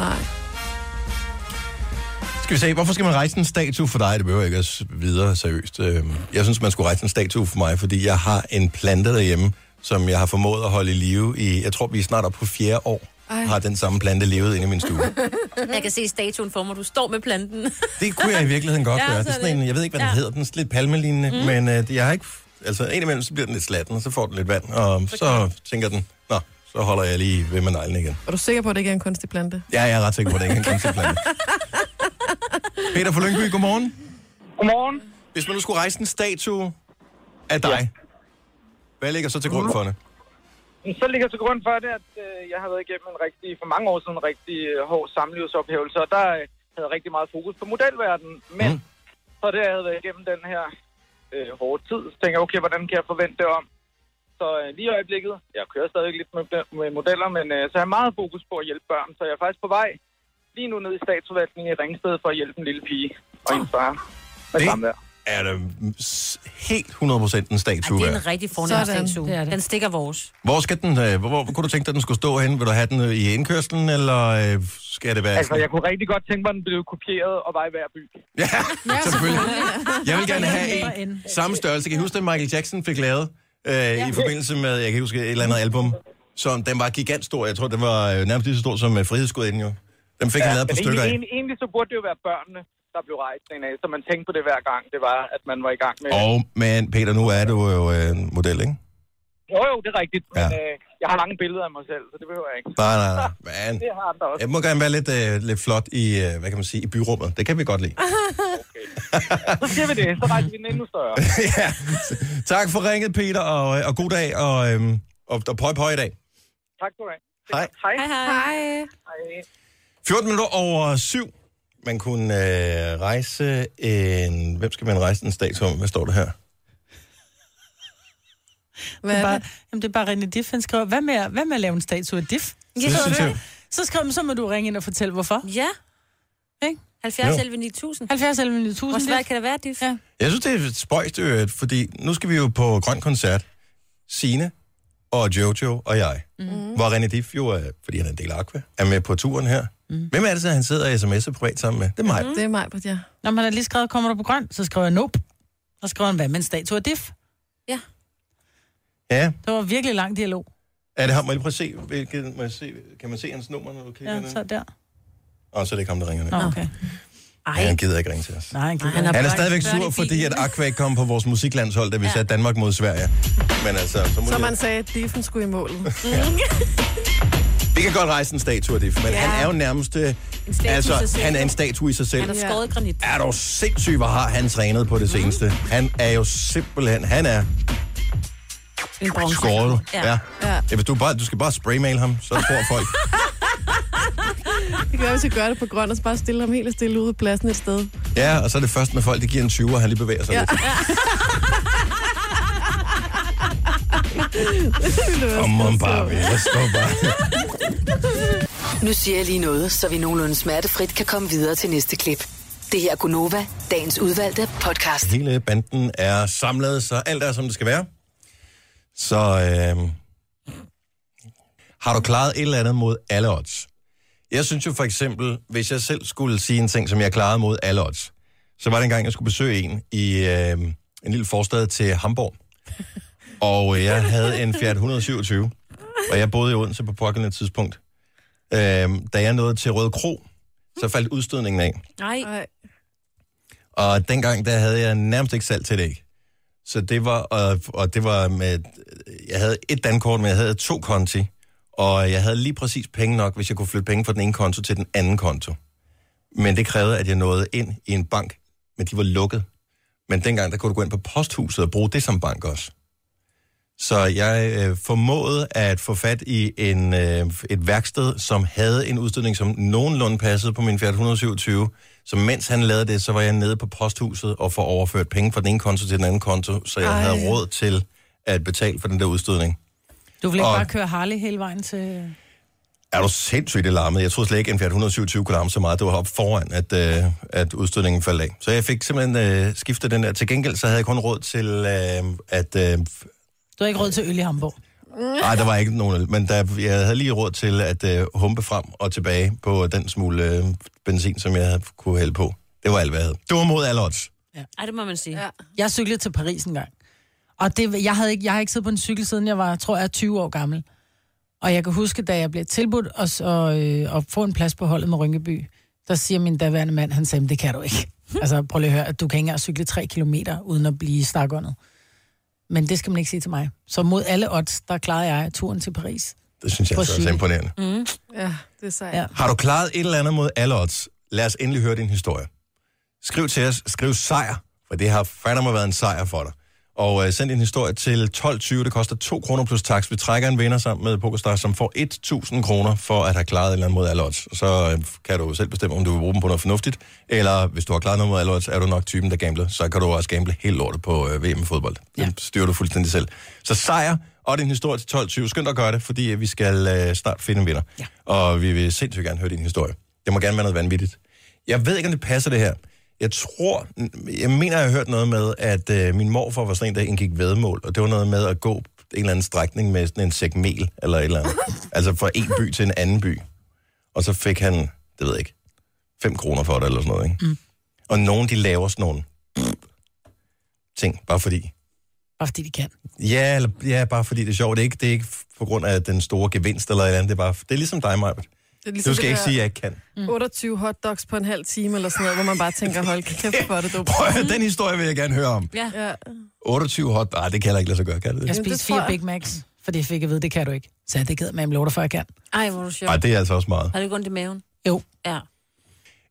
[SPEAKER 1] Skal vi se, hvorfor skal man rejse en statue for dig? Det behøver ikke at s- videre seriøst. Øhm, Jeg synes, man skulle rejse en statue for mig, fordi jeg har en plante derhjemme, som jeg har formået at holde i live i, jeg tror, vi er snart oppe på fjerde år, Ej. har den samme plante levet inde i min stue.
[SPEAKER 2] *laughs* Jeg kan se statuen for mig, du står med planten.
[SPEAKER 1] Det kunne jeg i virkeligheden godt
[SPEAKER 2] *laughs* Ja,
[SPEAKER 1] gøre. Det er
[SPEAKER 2] så er
[SPEAKER 1] sådan en,
[SPEAKER 2] det-
[SPEAKER 1] jeg ved ikke, hvad den
[SPEAKER 2] ja.
[SPEAKER 1] hedder, den er sådan lidt palmelignende, mm. men øh, det- jeg har ikke... Altså, indimellem så bliver den lidt slatten, og så får den lidt vand, og så tænker den, nå, så holder jeg lige ved med neglen igen.
[SPEAKER 3] Er du sikker på, at det ikke er en kunstig plante?
[SPEAKER 1] Ja, jeg er ret sikker på, at det ikke er en kunstig plante. Peter fra Lyngby, godmorgen.
[SPEAKER 9] Godmorgen.
[SPEAKER 1] Hvis man nu skulle rejse en statue af dig, ja. hvad ligger så til grund for det?
[SPEAKER 9] Så ligger til grund for det, at øh, jeg har været igennem en rigtig, for mange år siden en rigtig øh, hård samlivsophævelse, og der øh, havde jeg rigtig meget fokus på modelverdenen. Men
[SPEAKER 1] Mm.
[SPEAKER 9] mm. så det, jeg havde været igennem den her øh, hårde tid, så tænker jeg, okay, hvordan kan jeg forvente det om? Så øh, lige i øjeblikket, jeg kører stadig lidt med, med modeller, men øh, så har jeg meget fokus på at hjælpe børn, så jeg er faktisk på vej lige nu ned i statsforvaltningen i Ringsted for at hjælpe en lille pige og hendes far. Med
[SPEAKER 1] Det-
[SPEAKER 9] samvær.
[SPEAKER 1] Er det s- helt 100% en statue
[SPEAKER 2] det
[SPEAKER 1] værd?
[SPEAKER 2] er en rigtig fornem
[SPEAKER 3] Sådan.
[SPEAKER 2] statue.
[SPEAKER 4] Det er det.
[SPEAKER 2] Den stikker vores.
[SPEAKER 1] Hvor skal den, øh, hvor, hvor, kunne du tænke dig, den skulle stå hen? Vil du have den øh, i indkørslen, eller øh, skal det være...
[SPEAKER 9] Altså,
[SPEAKER 1] sådan-
[SPEAKER 9] jeg kunne rigtig godt tænke mig, at den blev kopieret og var i hver by.
[SPEAKER 1] *laughs* Ja, selvfølgelig.
[SPEAKER 10] Ah,
[SPEAKER 1] Jeg vil gerne have
[SPEAKER 4] Bare
[SPEAKER 1] en
[SPEAKER 4] en.
[SPEAKER 1] samme størrelse. Kan I huske, den Michael Jackson fik lavet øh, i forbindelse med, jeg kan ikke huske, et eller andet album, som den var gigantstor. Jeg tror, den var øh, nærmest lige så stor som øh, Frihedsgudinden jo. Dem fik ja, han lavet på
[SPEAKER 9] Men
[SPEAKER 1] stykker
[SPEAKER 9] egentlig,
[SPEAKER 1] af.
[SPEAKER 9] egentlig, egentlig så burde det jo være børnene, der blev rejst en af, så man tænkte på det hver gang, det var, at man var i gang med...
[SPEAKER 1] Og, men Peter, nu er du jo øh, en model, ikke?
[SPEAKER 9] Jo, jo, det er rigtigt, men
[SPEAKER 1] Ja.
[SPEAKER 9] øh, jeg har mange billeder af mig selv, så det behøver jeg ikke.
[SPEAKER 1] Nej, nej,
[SPEAKER 9] *laughs*
[SPEAKER 1] nej. Man.
[SPEAKER 9] Det har andre også.
[SPEAKER 1] Jeg må gerne være lidt, øh, lidt flot i, øh, hvad kan man sige, i byrummet. Det kan vi godt lide.
[SPEAKER 9] Så siger vi det, så rejser vi den endnu
[SPEAKER 1] *laughs*
[SPEAKER 9] større.
[SPEAKER 1] ja. Tak for ringet, Peter, og, øh, og god dag, og, øhm, og, og pøj pøj i dag.
[SPEAKER 9] Tak for det.
[SPEAKER 1] Hej.
[SPEAKER 9] Hej.
[SPEAKER 2] Hej, hej.
[SPEAKER 3] Hej.
[SPEAKER 1] 14 minutter over syv. Man kunne øh, rejse en... Hvem skal man rejse en statue om? Hvad står der her?
[SPEAKER 3] Hvad er
[SPEAKER 11] Bare,
[SPEAKER 3] det?
[SPEAKER 11] jamen, det er bare René Diff, han skriver, hvad med, hvad med at lave en statue af Diff?
[SPEAKER 2] Ja,
[SPEAKER 1] det
[SPEAKER 2] så
[SPEAKER 1] synes
[SPEAKER 2] det.
[SPEAKER 1] jeg.
[SPEAKER 11] Så skriver han, så må du ringe ind og fortælle, hvorfor.
[SPEAKER 2] Ja.
[SPEAKER 11] Ikke?
[SPEAKER 2] 70
[SPEAKER 1] Jo.
[SPEAKER 2] 11 9000.
[SPEAKER 11] 70 11
[SPEAKER 2] Hvor
[SPEAKER 11] 9000.
[SPEAKER 2] svært kan det være, Diff?
[SPEAKER 11] Ja.
[SPEAKER 1] Jeg synes, det er spøjst, øh, fordi nu skal vi jo på grøn koncert. Sine og Jojo og jeg. Mm. Hvor René Diff jo, øh, fordi han er en del af Aqua, er med på turen her. Mm. Hvem er det så, han sidder og sms'er privat sammen med? Det er mig. Mm.
[SPEAKER 3] Det er mig, Britt, ja.
[SPEAKER 11] Når man har lige skrevet, kommer du på grøn, så skriver jeg nope. Så skriver han, hvad med en statue af Diff?
[SPEAKER 2] Ja.
[SPEAKER 1] Ja,
[SPEAKER 11] Det var virkelig lang dialog.
[SPEAKER 1] er det ham? Må jeg lige prøve at se, hvilket, må jeg se, kan man se hans nummer, når du kigger
[SPEAKER 11] Ja,
[SPEAKER 1] ned?
[SPEAKER 11] så der.
[SPEAKER 1] Og så er det ikke ham, der ringer ned.
[SPEAKER 11] Nå, okay.
[SPEAKER 1] Ej. Ja, han gider ikke ringe til os.
[SPEAKER 11] Nej, han gider
[SPEAKER 2] Han
[SPEAKER 11] ikke.
[SPEAKER 2] har-
[SPEAKER 1] Han er
[SPEAKER 2] Børn-
[SPEAKER 1] stadigvæk
[SPEAKER 2] børn i
[SPEAKER 1] sur,
[SPEAKER 2] bilen.
[SPEAKER 1] fordi at Aqua ikke kom på vores musiklandshold, da vi ja. satte Danmark mod Sverige. Men altså, så må
[SPEAKER 3] Så
[SPEAKER 1] så
[SPEAKER 3] man sagde, at Diffen skulle i målet. Mm. *laughs*
[SPEAKER 1] Vi kan godt rejse en statue af det, men ja. han er jo nærmest... øh,
[SPEAKER 2] statue i sig
[SPEAKER 1] Altså,
[SPEAKER 2] selv.
[SPEAKER 1] han er en statue i sig selv.
[SPEAKER 2] Han har skåret i granit. Mhm.
[SPEAKER 1] Er du sindssyg, hvor har han trænet på det seneste? Han er jo simpelthen... Han er
[SPEAKER 2] En bronze.
[SPEAKER 1] skåret. Ja. ja.
[SPEAKER 2] Ja.
[SPEAKER 1] ja. hvis du, bare, du skal bare spraymale ham, så tror
[SPEAKER 2] *laughs*
[SPEAKER 1] folk...
[SPEAKER 3] Det kan være, vi skal gøre det på grøn, og så bare stille ham helt stille ude på pladsen et sted.
[SPEAKER 1] Ja, og så er det først, når folk de giver en 20, og han lige bevæger sig ja.
[SPEAKER 3] Ja.
[SPEAKER 1] lidt.
[SPEAKER 3] Det ville være
[SPEAKER 1] Kom on,
[SPEAKER 3] skønt.
[SPEAKER 1] Barbie. Jeg står bare...
[SPEAKER 5] Nu siger jeg lige noget, så vi nogenlunde smertefrit kan komme videre til næste klip. Det her er Gunova, dagens udvalgte podcast.
[SPEAKER 1] Hele banden er samlet, så alt er, som det skal være. Så øh, har du klaret et eller andet mod alle odds? Jeg synes jo for eksempel, hvis jeg selv skulle sige en ting, som jeg klarede mod alle odds, så var det en gang, jeg skulle besøge en i øh, en lille forstad til Hamburg. Og øh, jeg havde en Fiat 127, og jeg boede i Odense på pågældende tidspunkt. Øh, da jeg nåede til Røde Kro, så faldt udstødningen af.
[SPEAKER 2] Nej.
[SPEAKER 3] Ej.
[SPEAKER 1] Og dengang, der havde jeg nærmest ikke salg til det æg. Så det var, og, og det var med, jeg havde et dankort, men jeg havde to konti. Og jeg havde lige præcis penge nok, hvis jeg kunne flytte penge fra den ene konto til den anden konto. Men det krævede, at jeg nåede ind i en bank, men de var lukket. Men dengang, der kunne du gå ind på posthuset og bruge det som bank også. Så jeg øh, formåede at få fat i en, øh, et værksted, som havde en udstødning, som nogenlunde passede på min Fiat 127. Så mens han lavede det, så var jeg nede på posthuset og få overført penge fra den ene konto til den anden konto, så jeg Ej.
[SPEAKER 3] Ej.
[SPEAKER 1] havde råd til at betale for den der udstødning.
[SPEAKER 11] Du vil ikke
[SPEAKER 1] Og-
[SPEAKER 11] bare køre Harley hele vejen til...
[SPEAKER 1] Er du sindssygt det larmede? Jeg troede slet ikke, at en Fiat 127 kunne larme så meget. Det var op foran, at, øh, at udstødningen faldt af. Så jeg fik simpelthen øh, skiftet den der. Til gengæld så havde jeg kun råd til, øh, at... Øh,
[SPEAKER 11] Du har ikke råd til øl i Hamburg.
[SPEAKER 1] Nej, der var ikke nogen, øl, men der, jeg havde lige råd til at øh, humpe frem og tilbage på den smule øh, benzin, som jeg havde kunne hælde på. Det var alt, hvad jeg havde. Det var mod alle odds.
[SPEAKER 2] Ej, det må man sige.
[SPEAKER 3] Ja.
[SPEAKER 11] Jeg cyklede til Paris en gang. Og det, jeg, havde ikke, jeg har ikke siddet på en cykel, siden jeg var, tror jeg, 20 år gammel. Og jeg kan huske, da jeg blev tilbudt at, s- og, øh, at få en plads på holdet med Rynkeby, der siger min daværende mand, han sagde, "Men det kan du
[SPEAKER 3] *laughs*
[SPEAKER 11] ikke. altså prøv lige at høre, at du kan ikke engang cykle 3 kilometer uden at blive stakåndet. Men det skal man ikke sige til mig. Så mod alle odds, der klarede jeg turen til Paris.
[SPEAKER 1] Det synes jeg
[SPEAKER 11] På
[SPEAKER 1] altså også
[SPEAKER 11] cykel.
[SPEAKER 1] er imponerende. Mm.
[SPEAKER 3] Ja, det er sejt.
[SPEAKER 11] Ja.
[SPEAKER 3] Ja.
[SPEAKER 1] Har du klaret et eller andet mod alle odds? Lad os endelig høre din historie. Skriv til os. Skriv sejr, for det har fandme været en sejr for dig. Og øh, send din historie til 12.20. Det koster 2 kroner plus tax. Vi trækker en vinder sammen med PokerStars, som får 1.000 kroner for at have klaret et eller andet mod alle odds. Og Så øh, kan du selv bestemme, om du vil bruge dem på noget fornuftigt. Eller hvis du har klaret noget mod alle odds, er du nok typen, der gambler. Så kan du også gamble helt lortet på øh, VM i fodbold. Det ja. styrer du fuldstændig selv. Så sejr og din historie til 12.20. Skynd dig at gøre det, fordi øh, vi skal øh, snart finde en vinder. Ja. Og vi vil sindssygt gerne høre din historie. Det må gerne være noget vanvittigt. Jeg ved ikke, om det passer det her. Jeg tror, jeg mener, jeg har hørt noget med, at øh, min morfar var sådan en, der indgik vedmål, og det var noget med at gå en eller anden strækning med sådan en sæk mel, eller et eller andet. altså fra en by til en anden by. Og så fik han, det ved jeg ikke, 5 kroner for det, eller sådan noget, ikke? Mm. Og nogen, de laver sådan nogle ting, bare fordi.
[SPEAKER 11] Bare fordi de kan.
[SPEAKER 1] Ja, eller, ja, bare fordi det er sjovt. Det er ikke, det er ikke på grund af den store gevinst eller et eller andet. Det er, bare, det er ligesom dig, Majbert.
[SPEAKER 3] Det er ligesom
[SPEAKER 1] Du skal
[SPEAKER 3] det
[SPEAKER 1] ikke
[SPEAKER 3] der
[SPEAKER 1] sige, at jeg ikke kan.
[SPEAKER 3] 28 hotdogs på en halv time eller sådan noget, hvor man bare tænker, hold kæft, hvor er det dumt.
[SPEAKER 1] Prøv at høre, den historie vil jeg gerne høre om.
[SPEAKER 2] Ja.
[SPEAKER 3] Ja.
[SPEAKER 1] 28 hot... Nej, det kan jeg ikke lade sig gøre, kan det?
[SPEAKER 4] Jeg
[SPEAKER 1] det?
[SPEAKER 4] spiste
[SPEAKER 3] det tror
[SPEAKER 4] fire
[SPEAKER 3] jeg.
[SPEAKER 4] Big Macs, fordi jeg fik at vide, det kan du ikke. Så jeg, det gider man, jeg lover dig for, jeg kan.
[SPEAKER 2] Ej, hvor er du sjov.
[SPEAKER 1] Nej, det er altså også meget.
[SPEAKER 2] Har du ikke ondt i maven?
[SPEAKER 4] Jo.
[SPEAKER 2] Ja.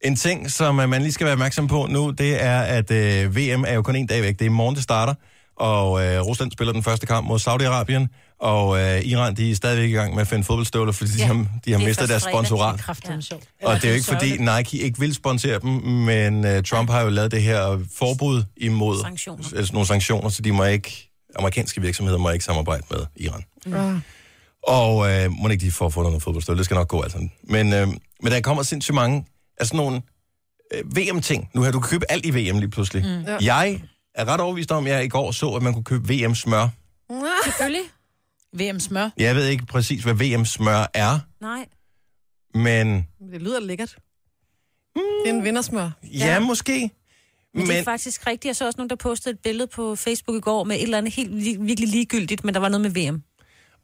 [SPEAKER 1] En ting, som øh, man lige skal være opmærksom på nu, det er, at øh, VM er jo kun en dag væk. Det er i morgen, det starter, og øh, Rusland spiller den første kamp mod Saudi-Arabien, og øh, Iran, de er stadigvæk i gang med at finde fodboldstøvler, fordi ja, de har, de har
[SPEAKER 2] det er
[SPEAKER 1] mistet
[SPEAKER 2] først
[SPEAKER 1] deres
[SPEAKER 2] fredag.
[SPEAKER 1] sponsorat.
[SPEAKER 4] Kraftigt ja. sjovt.
[SPEAKER 1] Og det er jo ikke, fordi Nike ikke vil sponsere dem, men øh, Trump har jo lavet det her forbud imod
[SPEAKER 2] Sanktioner.
[SPEAKER 1] altså nogle sanktioner, så de må ikke, amerikanske virksomheder må ikke samarbejde med Iran.
[SPEAKER 3] Ah.
[SPEAKER 1] Og øh, må ikke de får fundet noget fodboldstøvle, det skal nok gå altså. Men, øh, men der kommer sindssygt mange af sådan nogle øh, VM-ting. Nu her, du kan købe alt i VM lige pludselig. Mm.
[SPEAKER 3] Ja.
[SPEAKER 1] Jeg er ret overbevist om, at jeg i går så, at man kunne købe VM-smør.
[SPEAKER 2] Selvfølgelig.
[SPEAKER 4] VM smør.
[SPEAKER 1] Jeg ved ikke præcis, hvad VM-smør er,
[SPEAKER 2] Nej.
[SPEAKER 1] men
[SPEAKER 3] Det lyder lækkert. Det er en vindersmør.
[SPEAKER 1] ja, ja måske.
[SPEAKER 2] Men, det er faktisk rigtigt. Jeg så også nogen, der postede et billede på Facebook i går med et eller andet helt li- virkelig ligegyldigt, men der var noget med VM.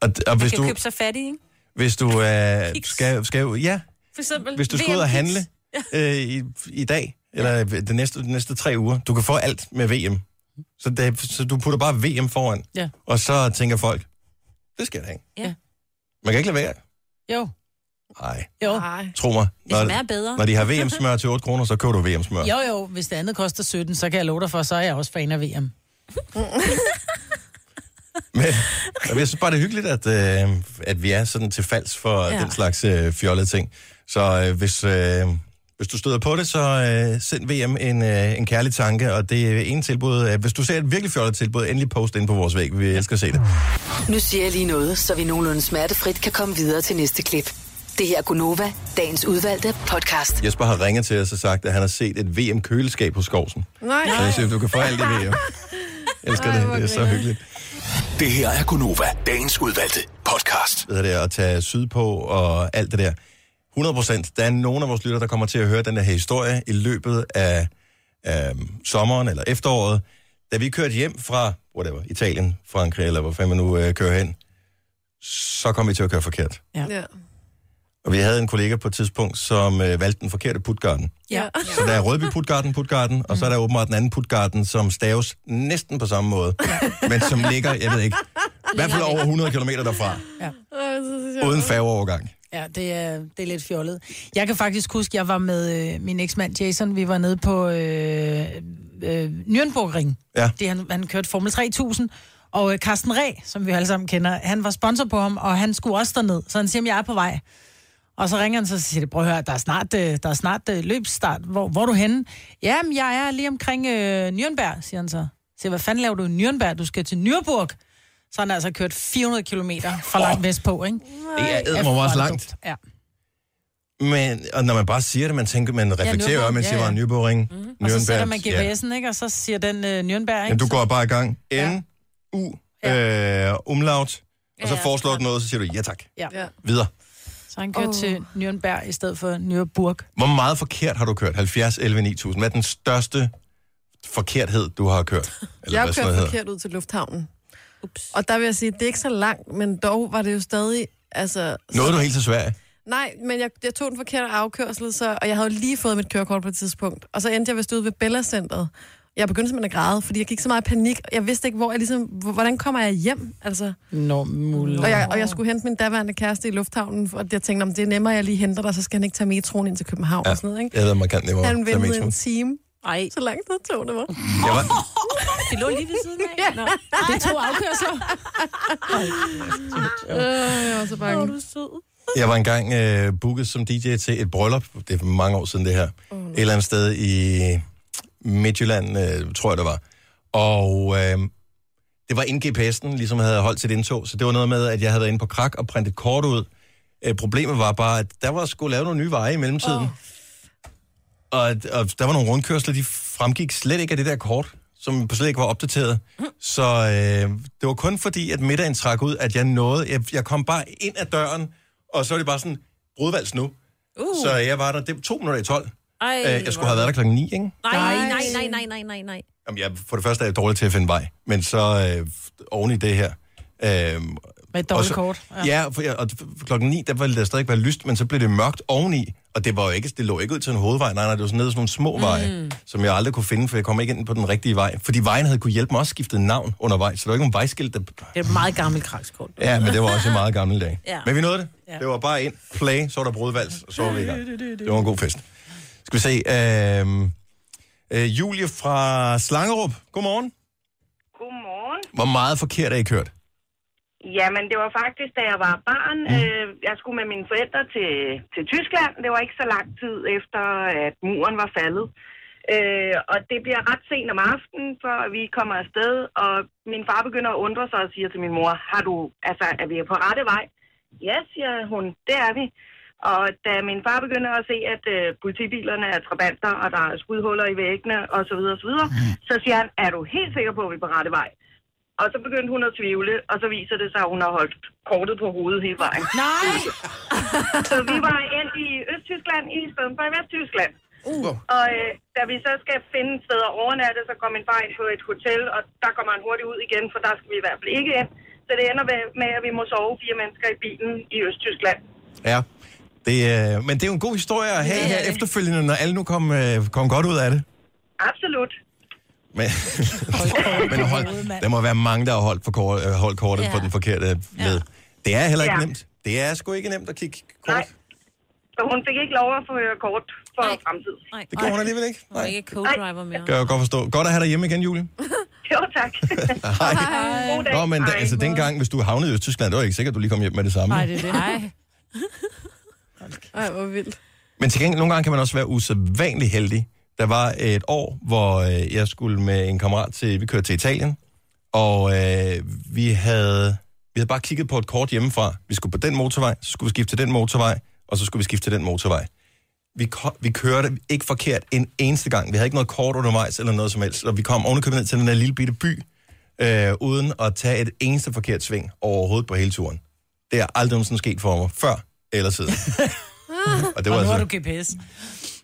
[SPEAKER 1] og, og hvis
[SPEAKER 2] Kan du
[SPEAKER 1] du,
[SPEAKER 2] købe sig fattig, ikke?
[SPEAKER 1] hvis du øh,
[SPEAKER 2] Kiks.
[SPEAKER 1] skal, skal, ja,
[SPEAKER 2] For eksempel
[SPEAKER 1] hvis du skal ud og
[SPEAKER 2] *laughs*
[SPEAKER 1] handle øh, i, i dag, eller de næste, de næste tre uger, du kan få alt med VM. Så, det, så du putter bare VM foran,
[SPEAKER 4] Ja.
[SPEAKER 1] og så tænker folk, det skal jeg da have.
[SPEAKER 2] Ja.
[SPEAKER 1] Man kan ikke lade være.
[SPEAKER 4] Jo.
[SPEAKER 1] Nej,
[SPEAKER 4] Jo.
[SPEAKER 3] Nej.
[SPEAKER 1] tro mig.
[SPEAKER 2] Det
[SPEAKER 1] Når,
[SPEAKER 2] smager bedre.
[SPEAKER 1] når de har VM-smør til 8 kroner, så køber du VM-smør.
[SPEAKER 4] Jo, jo, hvis det andet koster 17, så kan jeg love dig for, så er jeg også fan af VM.
[SPEAKER 1] Men, men jeg synes bare, det er hyggeligt, at, øh, at vi er sådan til falds for ja.
[SPEAKER 2] Ja.
[SPEAKER 1] den slags øh, fjollede ting. Så øh, hvis, øh, hvis du støder på det, så øh, send VM en, øh, en kærlig tanke, og det er en tilbud. Øh, hvis du ser et virkelig fjollet tilbud, endelig post ind på vores væg. Vi elsker at se det.
[SPEAKER 5] Nu siger jeg lige noget, så vi nogenlunde smertefrit kan komme videre til næste klip. Det her er Gunova, dagens udvalgte podcast.
[SPEAKER 1] Jesper har ringet til os og sagt, at han har set et VM-køleskab hos Skovsen.
[SPEAKER 3] Nej.
[SPEAKER 1] Så jeg siger, du kan få alt i VM. Jeg elsker det. Det er så hyggeligt.
[SPEAKER 6] Det her er Gunova, dagens udvalgte podcast.
[SPEAKER 1] ved det, at tage sydpå og alt det der. 100 procent. Der er nogen af vores lytter, der kommer til at høre den der her historie i løbet af øhm, sommeren eller efteråret. Da vi kørte hjem fra whatever, Italien, Frankrig eller hvor fanden man nu øh, kører hen, så kom vi til at køre forkert.
[SPEAKER 3] Ja.
[SPEAKER 1] Og vi havde en kollega på et tidspunkt, som øh, valgte den forkerte putgarden.
[SPEAKER 4] Ja.
[SPEAKER 1] Så der er Rødby Putgarden, Putgarden, og så er der åbenbart den anden Putgarden, som staves næsten på samme måde, men som ligger, jeg
[SPEAKER 4] *laughs*
[SPEAKER 1] ved ikke, i hvert fald over 100 km derfra, uden færgeovergang.
[SPEAKER 4] Ja, det er, det er lidt fjollet. Jeg kan faktisk huske, jeg var med øh, min eksmand Jason, vi var nede på øh, øh, Nürnbergring.
[SPEAKER 1] Ja.
[SPEAKER 4] Det, han, han kørte Formel 3000, og øh, Carsten Ræ, som vi jo alle sammen kender, han var sponsor på ham, og han skulle også derned, så han siger, "Jamen, jeg er på vej. Og så ringer han så og siger, prøv at høre, der er snart, øh, der er snart øh, løbsstart. Hvor, hvor er du henne? Jamen, jeg er lige omkring øh, Nürnberg, siger han så. Så hvad fanden laver du i Nürnberg? Du skal til Nürburg. Så har han altså kørt 400 km fra langt vestpå, ikke?
[SPEAKER 1] Det er eddermame
[SPEAKER 4] Ja,
[SPEAKER 1] også
[SPEAKER 4] for
[SPEAKER 1] langt.
[SPEAKER 4] dumt. Ja.
[SPEAKER 1] Men, og når man bare siger det, man tænker, man reflekterer over,
[SPEAKER 4] Nürburgring,
[SPEAKER 1] man siger
[SPEAKER 4] ja,
[SPEAKER 1] bare
[SPEAKER 4] ja.
[SPEAKER 1] Nyborgring, mm-hmm.
[SPEAKER 4] Og så sætter man GPS'en, ikke? Og så siger den øh, Nürnberg, ikke?
[SPEAKER 1] Jamen, du går bare i gang. N, U, øh, umlaut, og så
[SPEAKER 2] Ja, ja.
[SPEAKER 1] foreslår du noget, så siger du ja tak.
[SPEAKER 3] Ja.
[SPEAKER 1] Videre.
[SPEAKER 4] Så han kører
[SPEAKER 3] Åh.
[SPEAKER 4] oh. til Nürnberg i stedet for Nürburg.
[SPEAKER 1] Hvor meget forkert har du kørt? 70, 11, 9000. Hvad er den største forkerthed, du har kørt? Eller
[SPEAKER 3] Jeg
[SPEAKER 1] hvad sådan
[SPEAKER 3] kørte
[SPEAKER 1] noget hedder?
[SPEAKER 3] forkert ud til lufthavnen. Ups. Og der vil jeg sige, det er ikke så langt, men dog var det jo stadig... Altså,
[SPEAKER 1] Nåede du helt til Sverige?
[SPEAKER 3] Nej, men jeg, jeg tog den forkerte afkørsel, så, og jeg havde jo lige fået mit kørekort på et tidspunkt. Og så endte jeg vist ude ved Bella Centeret. Jeg begyndte simpelthen at græde, fordi jeg gik så meget i panik. Jeg vidste ikke, hvor jeg ligesom, hvor- hvordan kommer jeg hjem? Altså,
[SPEAKER 4] Nå, mulig.
[SPEAKER 3] og, jeg, og jeg skulle hente min daværende kæreste i lufthavnen, og jeg tænkte, om det er nemmere, at jeg lige henter dig, så skal han ikke tage metroen ind til København ja. og sådan noget, ikke?
[SPEAKER 1] Jeg ved, man kan nemmere.
[SPEAKER 3] Han
[SPEAKER 1] tage
[SPEAKER 3] ventede en
[SPEAKER 1] metroen.
[SPEAKER 3] time,
[SPEAKER 2] Ej,
[SPEAKER 3] så langt det tog det var.
[SPEAKER 1] Jeg var,
[SPEAKER 2] det lå lige ved siden af. Nå,
[SPEAKER 4] Det er to
[SPEAKER 3] *laughs*
[SPEAKER 4] afkørsler.
[SPEAKER 3] Øh, jeg var så bange.
[SPEAKER 2] du er sød.
[SPEAKER 1] Jeg var engang øh, booket som DJ til et bryllup, det er mange år siden det her, et eller andet sted i Midtjylland, øh, tror jeg det var. Og øh, det var inden GPS'en ligesom havde holdt sit indtog, så det var noget med, at jeg havde været inde på krak og printet kort ud. Øh, problemet var bare, at der var skulle lavet nogle nye veje i mellemtiden. Og, og der var nogle rundkørsler, de fremgik slet ikke af det der kort, som slet ikke var opdateret. Så øh, det var kun fordi, at middagen trak ud, at jeg nåede. Jeg, jeg kom bare ind ad døren, og så var det bare sådan, brudvalgs nu. Uh. Så jeg var der, det var to minutter i tolv.
[SPEAKER 2] Ej,
[SPEAKER 1] Øh, jeg skulle have været der klokken 9, ikke?
[SPEAKER 2] Nej, nej, nej, nej, nej, nej, nej.
[SPEAKER 1] Jamen, jeg, for det første er jeg dårlig til at finde vej, men så øh, oven i det her, øh,
[SPEAKER 4] Med et dårligt
[SPEAKER 1] Og så-
[SPEAKER 4] kort.
[SPEAKER 1] Ja, ja for, ja, og f- klokken 9, der var det stadig være lyst, men så blev det mørkt oveni. Og det, var jo ikke, det lå ikke ud til en hovedvej, nej, nej, det var sådan ned ad sådan nogle små mm. veje, som jeg aldrig kunne finde, for jeg kom ikke ind på den rigtige vej. Fordi vejen havde kunne hjælpe mig også skiftet navn undervejs, så der var ikke nogen vejskilt, der...
[SPEAKER 2] Det er et meget gammelt krakskort.
[SPEAKER 1] Ja, men det var også i meget gamle dage.
[SPEAKER 2] Ja.
[SPEAKER 1] Men vi nåede det. Det var bare ind, play, så var der brudvals, og så var vi i gang. Det var en god fest. Skal vi se, øhm, øh, Julie fra Slangerup, godmorgen.
[SPEAKER 12] Godmorgen.
[SPEAKER 1] Hvor meget forkert er I kørt?
[SPEAKER 12] Jamen, det var faktisk, da jeg var barn. Mm. Øh, jeg skulle med mine forældre til, til Tyskland. Det var ikke så lang tid efter, at muren var faldet. Øh, og det bliver ret sent om aftenen, før vi kommer afsted. Og min far begynder at undre sig og siger til min mor, har du, altså, er vi på rette vej? Ja, siger hun, det er vi. Og da min far begynder at se, at øh, politibilerne er trabanter, og der er skudhuller i væggene osv., osv., så siger han, er du helt sikker på, at vi er på rette vej? Og så begyndte hun at tvivle, og så viser det sig, at hun har holdt kortet på hovedet hele vejen. Nej! *laughs* så vi var endt i Østtyskland i stedet for i Vesttyskland.
[SPEAKER 1] Uh.
[SPEAKER 12] Og øh, da vi så skal finde et sted at overnatte, så kommer min far ind på et hotel, og der kommer han hurtigt ud igen, for der skal vi i hvert fald ikke ind. Så det ender med- med, at vi må sove fire mennesker i bilen i Østtyskland.
[SPEAKER 1] Ja. Det, øh, men det er jo en god historie at have
[SPEAKER 12] Det er
[SPEAKER 1] her
[SPEAKER 12] det.
[SPEAKER 1] efterfølgende, når alle nu kom, øh, kom godt ud af det.
[SPEAKER 12] Absolut.
[SPEAKER 1] Men, *laughs* men hold, der må være mange, der har holdt, for kort, øh, holdt kortet ja. på den forkerte led. Det er heller ikke
[SPEAKER 12] Ja.
[SPEAKER 1] nemt. Det er sgu ikke nemt at kigge kort.
[SPEAKER 12] Nej. Så hun fik ikke lov at få øh, kort for fremtiden.
[SPEAKER 1] Det gjorde hun alligevel ikke.
[SPEAKER 2] Hun er ikke co-driver mere.
[SPEAKER 1] Kan jeg godt forstå. Godt at have dig hjemme igen, Julie.
[SPEAKER 12] *laughs* Jo, tak.
[SPEAKER 1] *laughs* Hej. Nå, men da, altså dengang, hvis du havnede i Østtyskland, det var ikke sikkert, at du lige kom hjem med det samme.
[SPEAKER 3] det er det. *laughs* Nej. Ej, hvor vildt.
[SPEAKER 1] Men til gengæld, nogle gange kan man også være usædvanlig heldig. Der var et år, hvor øh, jeg skulle med en kammerat til, vi kørte til Italien, og øh, vi, havde, vi havde bare kigget på et kort hjemmefra. Vi skulle på den motorvej, så skulle vi skifte til den motorvej, og så skulle vi skifte til den motorvej. Vi, ko- vi kørte ikke forkert en eneste gang. Vi havde ikke noget kort undervejs eller noget som helst, og vi kom ovenikøbet ned til den der lille bitte by, øh, uden at tage et eneste forkert sving overhovedet på hele turen. Det er aldrig nogensinde sket for mig, før eller siden. Og det var
[SPEAKER 4] og nu
[SPEAKER 1] altså-
[SPEAKER 4] har du GPS.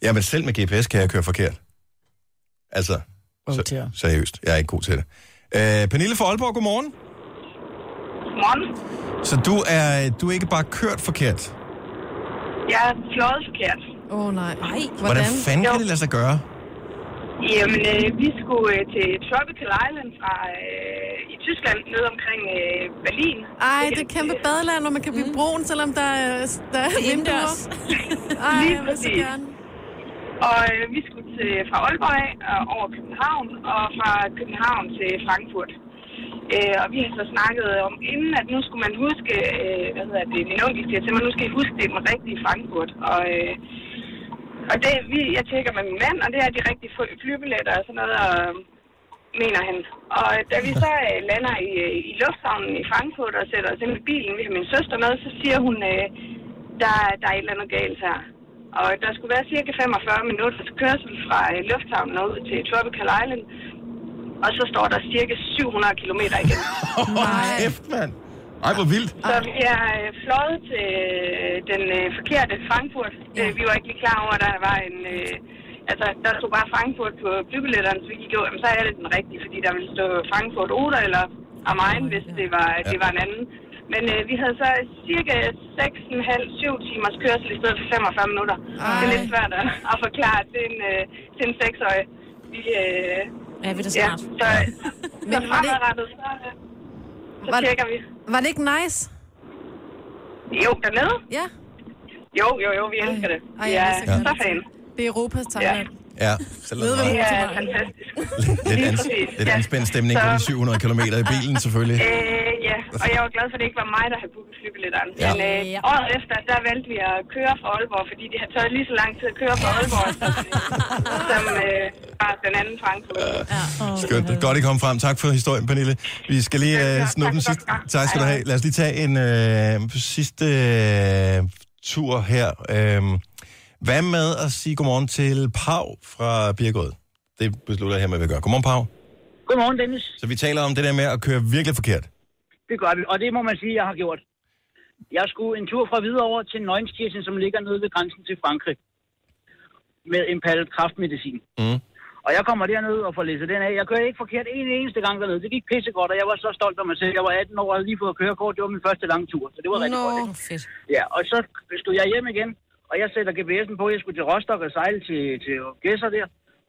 [SPEAKER 1] Ja, men selv med GPS kan jeg køre forkert. Altså,
[SPEAKER 4] så,
[SPEAKER 1] seriøst. Jeg er ikke god til det. Øh, Pernille fra Aalborg, godmorgen.
[SPEAKER 12] Morgen.
[SPEAKER 1] Så du er, du er ikke bare kørt forkert. Hvordan,
[SPEAKER 12] Jeg er fløjet forkert.
[SPEAKER 3] Åh, oh, nej. Ej,
[SPEAKER 1] Hvordan fanden kan det lade sig gøre?
[SPEAKER 12] Jamen, øh, vi skulle øh, til Tropical Island fra øh, i Tyskland, ned omkring øh, Berlin.
[SPEAKER 3] Ej, det er kæmpe badeland, hvor man kan blive brun, selvom der er, der er
[SPEAKER 12] Det er
[SPEAKER 3] vinduer.
[SPEAKER 12] indendørs.
[SPEAKER 3] *laughs* Ej,
[SPEAKER 12] Lige
[SPEAKER 3] jeg vil så
[SPEAKER 12] præcis.
[SPEAKER 3] gerne.
[SPEAKER 12] Og øh, vi skulle til, fra Aalborg af, og over København, og fra København til Frankfurt. Øh, og vi har så snakket om inden, at nu skulle man huske, øh, hvad hedder det, min onkel siger til mig, nu skal I huske, det er den rigtige Frankfurt. Og, øh, og det, vi, jeg tjekker med min mand, og det er de rigtige fly- flybilletter og sådan noget, og, øh, mener han. Og da vi så øh, lander i, øh, i lufthavnen i Frankfurt og sætter os ind i bilen, vi har min søster med, så siger hun, øh, der, er- der er et eller andet galt her. Og der skulle være cirka 45 minutters kørsel fra øh, lufthavnen og ud til Tropical Island. Og så står der cirka 700 km igen.
[SPEAKER 1] Nej. Kæft, mand. Ej, hvor vildt.
[SPEAKER 12] Så vi er øh, fløjet til øh, den øh, forkerte Frankfurt. Ja. Vi var ikke lige klar over, at der var en... Øh, altså, der stod bare Frankfurt på flybilletterne, så vi gik jo, jamen, så er det den rigtige, fordi der ville stå Frankfurt Oder eller am Main, hvis det var, ja. det var en anden. Men øh, vi havde så cirka 6,5-7 timers kørsel i stedet for 45 minutter. Ej. Det er lidt svært at, at forklare til en, øh, til en seksårig. Vi, øh,
[SPEAKER 2] Ja, vi er da smart.
[SPEAKER 12] så, så
[SPEAKER 3] Men var det-
[SPEAKER 12] fremadrettet, så, øh, så
[SPEAKER 3] Var det-
[SPEAKER 12] tjekker vi.
[SPEAKER 3] Var det ikke nice?
[SPEAKER 12] Jo, dernede?
[SPEAKER 3] Ja.
[SPEAKER 12] Jo, jo, jo, vi elsker det.
[SPEAKER 3] Ej,
[SPEAKER 12] Vi
[SPEAKER 3] jeg
[SPEAKER 12] er
[SPEAKER 3] er så
[SPEAKER 12] så
[SPEAKER 3] glad.
[SPEAKER 12] fan.
[SPEAKER 3] Det er Europas Thailand.
[SPEAKER 1] Ja, selv
[SPEAKER 3] Ved
[SPEAKER 1] om
[SPEAKER 3] vi
[SPEAKER 1] det
[SPEAKER 12] Det
[SPEAKER 1] var
[SPEAKER 12] er *laughs* fantastisk.
[SPEAKER 1] lidt,
[SPEAKER 12] Lige
[SPEAKER 1] ans,
[SPEAKER 12] præcis,
[SPEAKER 1] lidt
[SPEAKER 12] ja.
[SPEAKER 1] anspændt stemning på de 700 km i bilen, selvfølgelig.
[SPEAKER 12] Øh, ja, og jeg var glad for, at det ikke var mig, der havde booket flybilletterne.
[SPEAKER 1] Ja.
[SPEAKER 12] Ja. Men øh, året efter, der valgte vi at køre fra Aalborg, fordi det har taget lige så lang tid at køre fra Aalborg, som, øh, som øh, var den anden Frankfurt. Ja. Mhm.
[SPEAKER 1] Skønt. Godt, I kom frem. Tak for historien, Pernille. Vi skal lige uh, snuppe den sidste. Tak skal du have. Lad os lige tage en øh, sidste øh, tur her. Øh, hvad med at sige godmorgen til Pau fra Birkerød? Det beslutter jeg her med, at vi gør. Godmorgen, Pau.
[SPEAKER 13] Godmorgen, Dennis.
[SPEAKER 1] Så vi taler om det der med at køre virkelig forkert.
[SPEAKER 13] Det gør vi, og det må man sige, jeg har gjort. Jeg skulle en tur fra Hvidovre til Nøgenskirchen, som ligger nede ved grænsen til Frankrig, med en palle kraftmedicin.
[SPEAKER 1] Mm.
[SPEAKER 13] Og jeg kommer derned og får læsset den af. Jeg kørte ikke forkert en eneste gang dernede. Det gik pissegodt, og jeg var så stolt af mig selv. Jeg var 18 år og havde lige fået kørekort. Det var min første lange tur, så det var rigtig
[SPEAKER 2] Nå,
[SPEAKER 13] godt. Ikke?
[SPEAKER 2] fedt.
[SPEAKER 13] Ja, og så skulle jeg hjem igen, og jeg sætter GPS'en på. Jeg skulle til Rostock og sejle til, til Gæsser der.